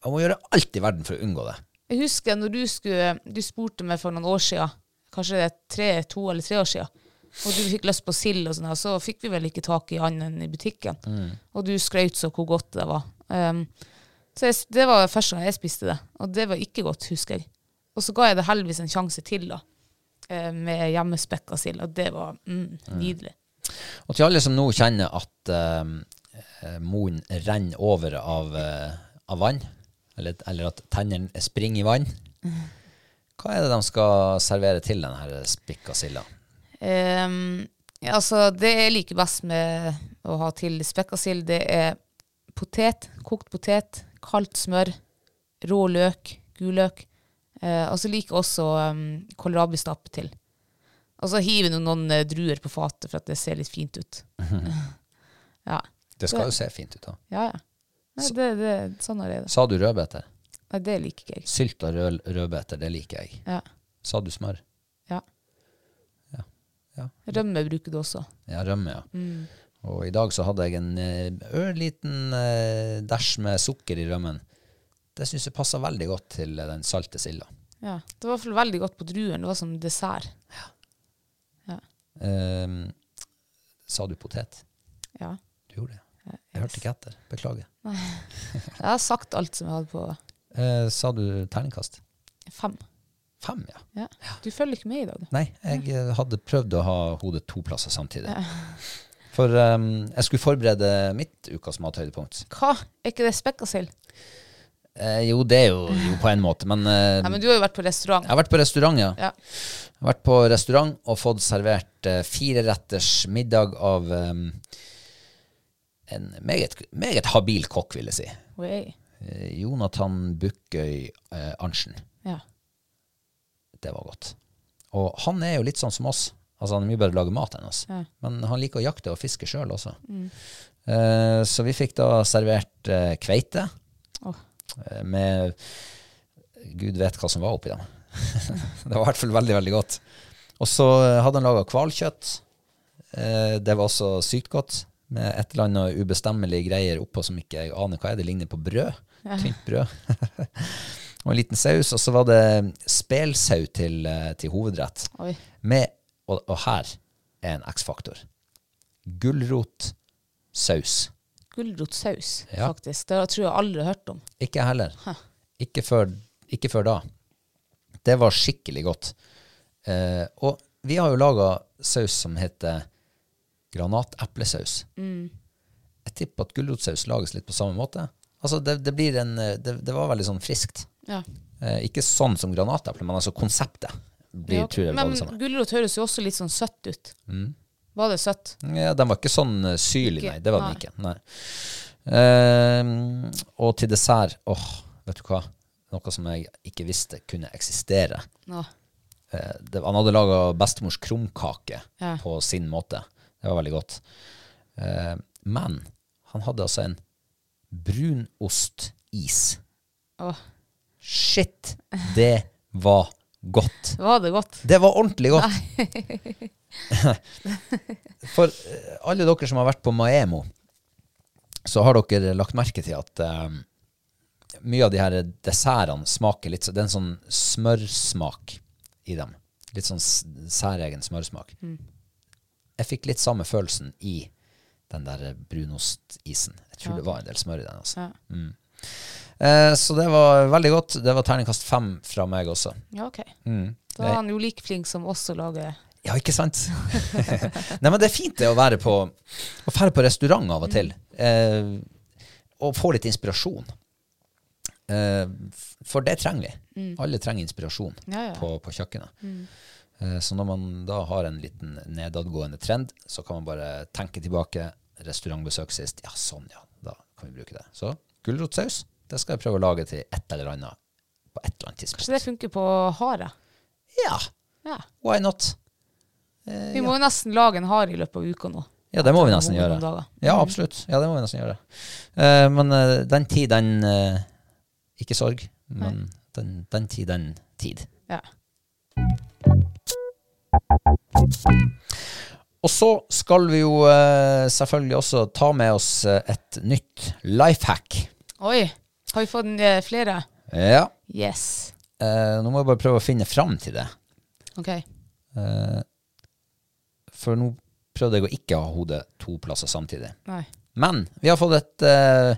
[SPEAKER 1] man må gjøre alt i verden for å unngå det.
[SPEAKER 2] Jeg husker når du, skulle, du spurte meg for noen år siden, kanskje det er tre, to eller tre år siden, og du fikk lyst på sild og sånn, her, så fikk vi vel ikke tak i annet enn i butikken.
[SPEAKER 1] Mm.
[SPEAKER 2] Og du skrøt så hvor godt det var. Um, så jeg, det var første gang jeg spiste det, og det var ikke godt, husker jeg. Og så ga jeg det heldigvis en sjanse til, da, eh, med hjemmespekka sild, og det var mm, nydelig.
[SPEAKER 1] Og til alle som nå kjenner at eh, munnen renner over av, eh, av vann, eller, eller at tennene springer i vann, hva er det de skal servere til denne spikka silda?
[SPEAKER 2] Ehm, ja, altså, det jeg liker best med å ha til spekkasild, det er potet, kokt potet, kaldt smør, rå løk, gulløk. Eh, og så liker jeg også um, kålrabistappe til. Og så hiver du noen eh, druer på fatet for at det ser litt fint ut. ja.
[SPEAKER 1] Det skal jo se fint ut. da.
[SPEAKER 2] Ja, ja. Nei, det, det, sånn er det.
[SPEAKER 1] Sa du rødbeter?
[SPEAKER 2] Nei, det liker ikke jeg.
[SPEAKER 1] Sylt av rød, rødbeter, det liker jeg.
[SPEAKER 2] Ja.
[SPEAKER 1] Sa du smør?
[SPEAKER 2] ja.
[SPEAKER 1] Ja. Ja.
[SPEAKER 2] Rømme bruker du også.
[SPEAKER 1] Ja, rømme, ja.
[SPEAKER 2] Mm.
[SPEAKER 1] Og i dag så hadde jeg en eh, ørliten eh, dæsj med sukker i rømmen. Det syns jeg passer veldig godt til eh, den salte silda.
[SPEAKER 2] Ja. Det var i hvert fall veldig godt på druen. Det var som dessert.
[SPEAKER 1] Ehm, sa du potet?
[SPEAKER 2] Ja.
[SPEAKER 1] Du gjorde det. Jeg hørte ikke etter. Beklager.
[SPEAKER 2] Jeg har sagt alt som jeg hadde på
[SPEAKER 1] Eh, sa du terningkast?
[SPEAKER 2] fem.
[SPEAKER 1] Fem, ja.
[SPEAKER 2] Ja. Du følger ikke med i dag, du.
[SPEAKER 1] Nei, jeg eh, hadde prøvd å ha hodet to plasser samtidig. For ehm, jeg skulle forberede mitt ukas mathøydepunkt.
[SPEAKER 2] Hva? Er ikke det spekkasild?
[SPEAKER 1] Eh, jo, det er jo, jo på en måte, men, eh,
[SPEAKER 2] Nei, men du har jo vært på restaurant.
[SPEAKER 1] jeg har vært på restaurant, ja.
[SPEAKER 2] Ja.
[SPEAKER 1] Jeg har vært på restaurant og fått servert eh, fire retters middag av ehm, en meget, meget habil kokk, vil jeg si.
[SPEAKER 2] Oi.
[SPEAKER 1] Eh, Jonathan Bukkøy eh, Arntzen.
[SPEAKER 2] Ja.
[SPEAKER 1] Det var godt. Og han er jo litt sånn som oss. Altså Han er mye bedre til å lage mat enn oss.
[SPEAKER 2] Ja. Mm.
[SPEAKER 1] Men han liker å jakte og fiske sjøl også. Eh, så vi fikk da servert eh, kveite
[SPEAKER 2] Åh.
[SPEAKER 1] eh, med Gud vet hva som var oppi dem. (laughs) det var i hvert fall veldig, veldig godt. Og så eh, hadde han laga hvalkjøtt. Eh, det var også sykt godt. Med et eller annet ubestemmelig greier oppå som ikke jeg aner hva er. Det ligner på brød. Tynt brød. og en liten saus. Og så var det spelsau til, eh, til hovedrett.
[SPEAKER 2] Oi.
[SPEAKER 1] Med, og, og her er en X-faktor. Gulrot, saus.
[SPEAKER 2] Gulrotsaus,
[SPEAKER 1] Ja.
[SPEAKER 2] faktisk. Det tror jeg aldri har hørt om.
[SPEAKER 1] Ikke jeg heller. Ikke før, ikke før da. Det var skikkelig godt. Eh, og vi har jo laga saus som heter granateplesaus. Jeg tipper at gulrotsaus lages litt på samme måte. Altså, det, det blir en eh, det, det var veldig sånn friskt.
[SPEAKER 2] Ja.
[SPEAKER 1] Eh, ikke sånn som granateple, men altså konseptet blir,
[SPEAKER 2] Ja,
[SPEAKER 1] tror jeg, var
[SPEAKER 2] men
[SPEAKER 1] det samme. Mm.
[SPEAKER 2] gulrot høres jo også litt sånn søtt ut. Var det søtt?
[SPEAKER 1] Ja, den var ikke sånn eh, syrlig,
[SPEAKER 2] Ikke-
[SPEAKER 1] nei. Det var den
[SPEAKER 2] nei.
[SPEAKER 1] ikke. Nei. Ehm, og til dessert Åh, vet du hva? Noe som jeg ikke visste kunne eksistere.
[SPEAKER 2] Ja.
[SPEAKER 1] Eh, det, han hadde laga bestemors krumkake
[SPEAKER 2] Ja.
[SPEAKER 1] på sin måte. Det var veldig godt. Eh, men han hadde altså en brunostis.
[SPEAKER 2] Åh,
[SPEAKER 1] Shit, det var godt.
[SPEAKER 2] var det godt?
[SPEAKER 1] Det var ordentlig godt. (laughs) For eh, alle dere som har vært på Maemo, så har dere lagt merke til at eh, mye av de her dessertene smaker litt så- Det er en sånn smørsmak i dem. Litt sånn s- særegen smørsmak. Jeg fikk litt samme følelsen i den der brunostisen. Jeg tror det var en del smør i den. altså.
[SPEAKER 2] Ja,
[SPEAKER 1] Eh, så det var veldig godt. Det var terningkast fem fra meg også.
[SPEAKER 2] ja ok.
[SPEAKER 1] Mm.
[SPEAKER 2] Da er han jo like flink som oss å lage
[SPEAKER 1] Ja, ikke sant? (laughs) Nei, men det er fint det å være på Å fære på restaurant av og til. Eh, og få litt inspirasjon. Eh, f- for det trenger vi. Alle trenger inspirasjon
[SPEAKER 2] Mm. Ja, Mm. ja.
[SPEAKER 1] På, på kjøkkenet. Eh, så når man da har en liten nedadgående trend, så kan man bare tenke tilbake. Restaurantbesøk sist. Ja, sånn, ja. Da kan vi bruke det. Så gulrotsaus, det skal jeg prøve å lage til et eller annet på et eller annet
[SPEAKER 2] Kanskje det
[SPEAKER 1] tidspunkt.
[SPEAKER 2] funker på hare?
[SPEAKER 1] Ja,
[SPEAKER 2] Ja.
[SPEAKER 1] why not?
[SPEAKER 2] Vi må jo nesten lage en hare i løpet av uka nå.
[SPEAKER 1] Ja, det Eh, må vi nesten
[SPEAKER 2] Om noen
[SPEAKER 1] gjøre.
[SPEAKER 2] dager.
[SPEAKER 1] Ja, absolutt. Ja, det må vi nesten gjøre. Eh, men eh, den tid, den eh, Ikke sorg, men den, den tid, den tid.
[SPEAKER 2] Ja.
[SPEAKER 1] Og så skal vi jo eh, selvfølgelig også ta med oss eh, et nytt life hack.
[SPEAKER 2] Oi, har vi fått eh, flere?
[SPEAKER 1] Ja.
[SPEAKER 2] Yes.
[SPEAKER 1] eh, nå må jeg bare prøve å finne fram til det.
[SPEAKER 2] Ok.
[SPEAKER 1] Eh, for nå prøvde jeg å ikke ha hodet to plasser samtidig.
[SPEAKER 2] Nei.
[SPEAKER 1] Men vi har fått et, eh,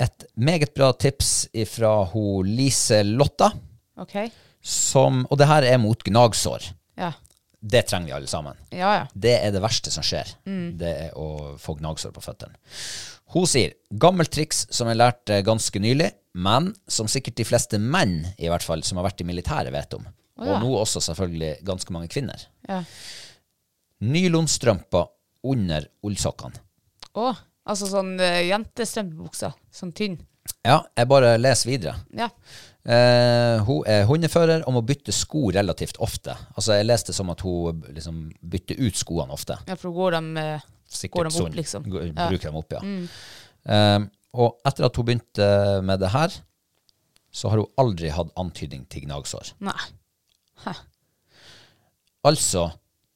[SPEAKER 1] et meget bra tips fra Lise Lotta.
[SPEAKER 2] Ok.
[SPEAKER 1] som, og det her er mot gnagsår.
[SPEAKER 2] Ja.
[SPEAKER 1] Det trenger vi alle sammen.
[SPEAKER 2] Ja, ja.
[SPEAKER 1] Det er det verste som skjer.
[SPEAKER 2] Mm.
[SPEAKER 1] Det er å få gnagsår på føttene. Hun sier gammelt triks som jeg lærte ganske nylig, men som sikkert de fleste menn i hvert fall som har vært i militæret, vet om.
[SPEAKER 2] Å ja.
[SPEAKER 1] Og nå også selvfølgelig ganske mange kvinner.
[SPEAKER 2] ja.
[SPEAKER 1] Nylonstrømper under ullsokkene.
[SPEAKER 2] Å, altså sånn uh, jentestrømpebuksa. Sånn tynn.
[SPEAKER 1] Ja, jeg bare leser videre.
[SPEAKER 2] Ja.
[SPEAKER 1] Eh, hun er hundefører og må bytte sko relativt ofte. Altså, jeg leste som at hun liksom bytter ut skoene ofte.
[SPEAKER 2] ja, for da går de, eh, går
[SPEAKER 1] Sikkert
[SPEAKER 2] de
[SPEAKER 1] sånn.
[SPEAKER 2] opp, liksom.
[SPEAKER 1] Går-
[SPEAKER 2] Ja. Mm.
[SPEAKER 1] Bruker dem opp, ja. Ehm, og etter at hun begynte med det her, så har hun aldri hatt antydning til gnagsår.
[SPEAKER 2] Nei.
[SPEAKER 1] Altså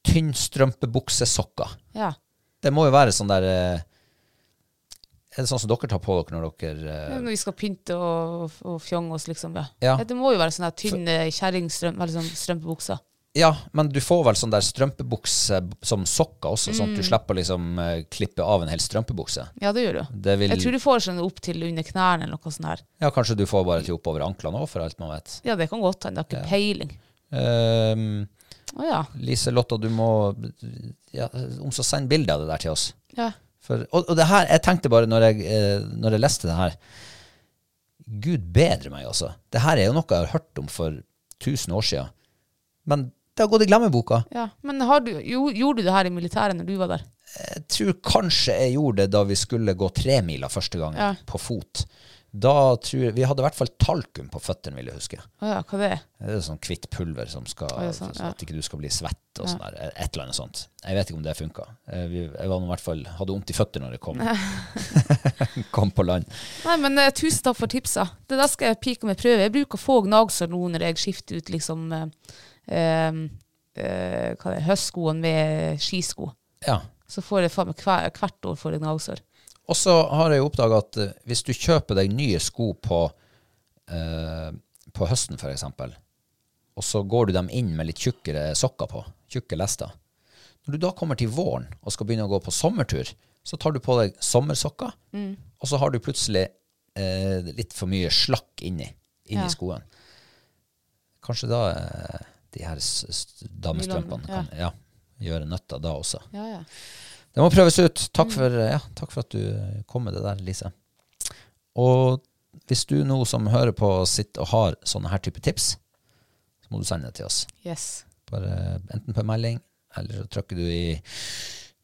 [SPEAKER 1] tynnstrømpebuksesokker.
[SPEAKER 2] Ja.
[SPEAKER 1] Det må jo være sånn der eh, Er det sånn som dere tar på dere når dere eh,
[SPEAKER 2] Ja, Når vi skal pynte og, og fjonge oss, liksom. Ja.
[SPEAKER 1] Ja.
[SPEAKER 2] Ja, Det må jo være sånne her eh, tynne sånn kjerringstrømpebukser.
[SPEAKER 1] Ja, men du får vel sånn der strømpebukse som sokker også, sånn
[SPEAKER 2] Mm.
[SPEAKER 1] at du slipper liksom eh, klippe av en hel strømpebukse.
[SPEAKER 2] Ja, det gjør du.
[SPEAKER 1] Det vil,
[SPEAKER 2] Jeg tror du får sånn opp til under knærne eller noe sånt her.
[SPEAKER 1] Ja, kanskje du får bare til oppover anklene òg, for alt man vet.
[SPEAKER 2] Ja, det kan godt hende. Det har ikke peiling.
[SPEAKER 1] Ehm,
[SPEAKER 2] Å ja.
[SPEAKER 1] Lise Lotta, du må ja, om så send bilde av det der til oss.
[SPEAKER 2] ja.
[SPEAKER 1] For, og, og det her, jeg tenkte bare når jeg, eh, når jeg leste det her Gud bedre meg, altså. Det her er jo noe jeg har hørt om for 1000 år siden. Men det har gått i glemmeboka.
[SPEAKER 2] ja. Men har du, jo, gjorde du det her i militæret når du var der?
[SPEAKER 1] Jeg tror kanskje jeg gjorde det da vi skulle gå tremila første gangen,
[SPEAKER 2] Ja.
[SPEAKER 1] på fot. Da tror jeg, Vi hadde i hvert fall talkum på føttene, vil jeg huske.
[SPEAKER 2] Å ja, hva det er?
[SPEAKER 1] Det er sånn kvitt pulver som skal,
[SPEAKER 2] Oi, sånn,
[SPEAKER 1] sånn
[SPEAKER 2] ja.
[SPEAKER 1] at ikke du skal bli svett og sånn der. Et eller annet sånt. Jeg vet ikke om det funka. Eh, vi- Jeg var nå i hvert fall, hadde vondt i føtter når jeg kom.
[SPEAKER 2] (laughs)
[SPEAKER 1] kom (laughs) på land.
[SPEAKER 2] Nei, men eh, tusen takk for tipsa. Det der skal jeg pike med prøve. Jeg bruker å få gnagsår nå når jeg skifter ut liksom eh, eh, eh, hva det er, høstskoene med skisko.
[SPEAKER 1] Ja.
[SPEAKER 2] Så får jeg faen meg hver, hvert år får jeg gnagsår.
[SPEAKER 1] Og så har jeg jo oppdaga at eh, hvis du kjøper deg nye sko på, eh, på høsten, f.eks., og så går du dem inn med litt tjukkere sokker på, tjukke lester Når du da kommer til våren og skal begynne å gå på sommertur, så tar du på deg sommersokker, og så har du plutselig eh, litt for mye slakk inni, inni
[SPEAKER 2] Ja.
[SPEAKER 1] skoen. Kanskje da eh, de her s- s- damestrømpene
[SPEAKER 2] Ja.
[SPEAKER 1] kan ja, gjøre nøtta da også.
[SPEAKER 2] Ja, ja. Mm.
[SPEAKER 1] Det må prøves ut. Takk for, ja, takk for at du kom med det der, Lise. Og hvis du nå som hører på sitter og har sånne her type tips, så må du sende det til oss.
[SPEAKER 2] Yes.
[SPEAKER 1] Bare enten på en melding, eller så trykker du i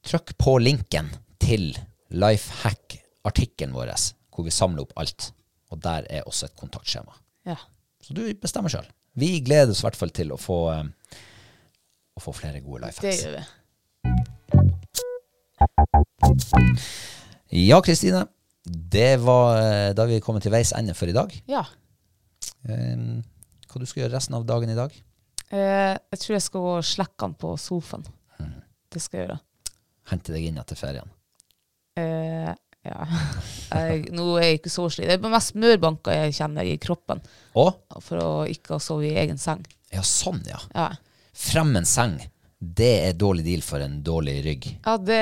[SPEAKER 1] Trykk på linken til Lifehack-artikkelen vår, hvor vi samler opp alt. Og der er også et kontaktskjema.
[SPEAKER 2] Ja.
[SPEAKER 1] Så du bestemmer sjøl. Vi gleder oss i hvert fall til å få, eh, å få flere gode
[SPEAKER 2] Det
[SPEAKER 1] lifehacks.
[SPEAKER 2] gjør vi.
[SPEAKER 1] Ja, Kristine. Det var eh, da vi er kommet til veis ende for i dag.
[SPEAKER 2] Ja.
[SPEAKER 1] Eh, hva du skal gjøre resten av dagen i dag?
[SPEAKER 2] Eh, jeg tror jeg skal gå og slekke han på sofaen. Det skal jeg gjøre.
[SPEAKER 1] Hente deg inn etter ferien.
[SPEAKER 2] Eh, ja. (laughs) Jeg, nå er jeg ikke så sliten. Det er mest mørbanker jeg kjenner i kroppen,
[SPEAKER 1] Å?
[SPEAKER 2] for å ikke å sove i egen seng.
[SPEAKER 1] Ja, sånn, ja.
[SPEAKER 2] Ja,
[SPEAKER 1] Frem en seng. Det er dårlig deal for en dårlig rygg.
[SPEAKER 2] ja det,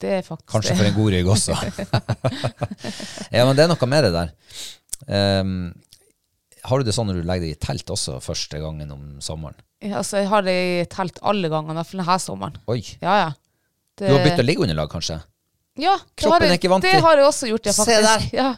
[SPEAKER 2] det er faktisk
[SPEAKER 1] Kanskje
[SPEAKER 2] det.
[SPEAKER 1] for en god rygg også. (laughs) ja, men det er noe med det der. Ehm, har du det sånn når du legger deg i telt også første gangen om sommeren?
[SPEAKER 2] Ja, Altså, jeg har det i telt alle gangene, i hvert fall denne sommeren.
[SPEAKER 1] Oi.
[SPEAKER 2] Ja, ja. Det-
[SPEAKER 1] Du har bytta liggeunderlag, kanskje?
[SPEAKER 2] Ja, det
[SPEAKER 1] Kroppen
[SPEAKER 2] har
[SPEAKER 1] er
[SPEAKER 2] jeg-
[SPEAKER 1] ikke vant til.
[SPEAKER 2] Det har jeg også gjort, ja,
[SPEAKER 1] Se
[SPEAKER 2] faktisk.
[SPEAKER 1] der.
[SPEAKER 2] Ja.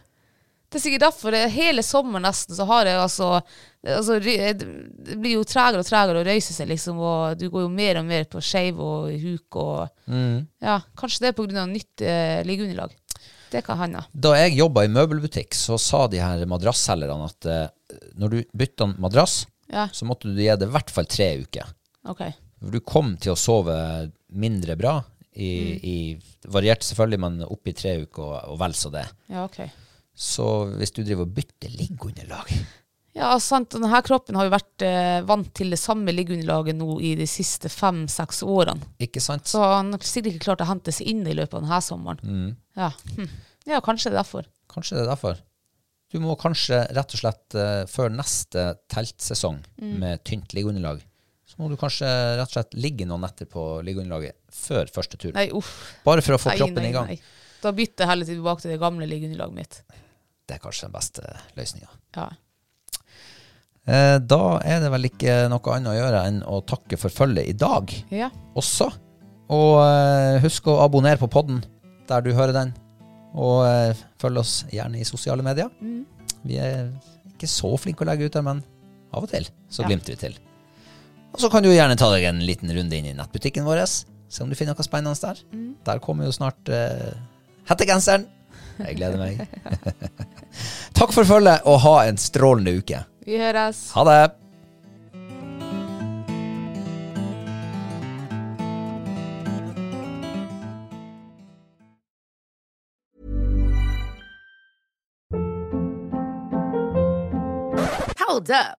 [SPEAKER 2] Det er sikkert derfor. Det, hele sommeren nesten så har jeg altså, altså ry- Det blir jo tregere og tregere å røyse seg, liksom. Og du går jo mer og mer på skeiv og huk og
[SPEAKER 1] Mm.
[SPEAKER 2] Ja, kanskje det er på grunn av nytt eh, liggeunderlag. Det kan hende.
[SPEAKER 1] Da jeg jobba i møbelbutikk, så sa de her madrassselgerne at eh, når du bytta en madrass,
[SPEAKER 2] Ja,
[SPEAKER 1] så måtte du gi det i hvert fall tre uker.
[SPEAKER 2] ok.
[SPEAKER 1] For du kom til å sove mindre bra. I,
[SPEAKER 2] Mm.
[SPEAKER 1] i, variert selvfølgelig, men opp i tre uker og, og vel så det.
[SPEAKER 2] Ja, ok.
[SPEAKER 1] Så hvis du driver og bytter liggeunderlag
[SPEAKER 2] Ja, sant. og Denne kroppen har jo vært eh, vant til det samme liggeunderlaget nå i de siste fem-seks årene.
[SPEAKER 1] Ikke sant?
[SPEAKER 2] Så han har sikkert ikke klart å hente seg inn i løpet av denne sommeren.
[SPEAKER 1] Mm.
[SPEAKER 2] Ja. Hm. ja, kanskje det er derfor.
[SPEAKER 1] Kanskje det er derfor. Du må kanskje rett og slett eh, før neste teltsesong
[SPEAKER 2] Mm.
[SPEAKER 1] med tynt liggeunderlag, så må du kanskje rett og slett ligge noen netter på liggeunderlaget før første tur.
[SPEAKER 2] Nei, uff.
[SPEAKER 1] Bare for å få
[SPEAKER 2] Nei,
[SPEAKER 1] kroppen
[SPEAKER 2] nei,
[SPEAKER 1] i gang.
[SPEAKER 2] nei. Da bytter jeg heller tilbake til det gamle liggeunderlaget mitt.
[SPEAKER 1] Det er kanskje den beste løsninga.
[SPEAKER 2] Ja.
[SPEAKER 1] Eh, da er det vel ikke noe annet å gjøre enn å takke for følget i dag
[SPEAKER 2] ja.
[SPEAKER 1] også. Og eh, husk å abonnere på podden der du hører den. Og eh, følg oss gjerne i sosiale medier. Vi er ikke så flinke å legge ut der, men av og til så
[SPEAKER 2] Ja.
[SPEAKER 1] glimter vi til. Og så kan du gjerne ta deg en liten runde inn i nettbutikken vår, se om du finner noe spennende der. Der kommer jo snart eh, hettegenseren. Jeg gleder meg. Takk for følget, og ha en strålende uke.
[SPEAKER 2] Vi høres.
[SPEAKER 1] Ha det!
[SPEAKER 3] Hold up.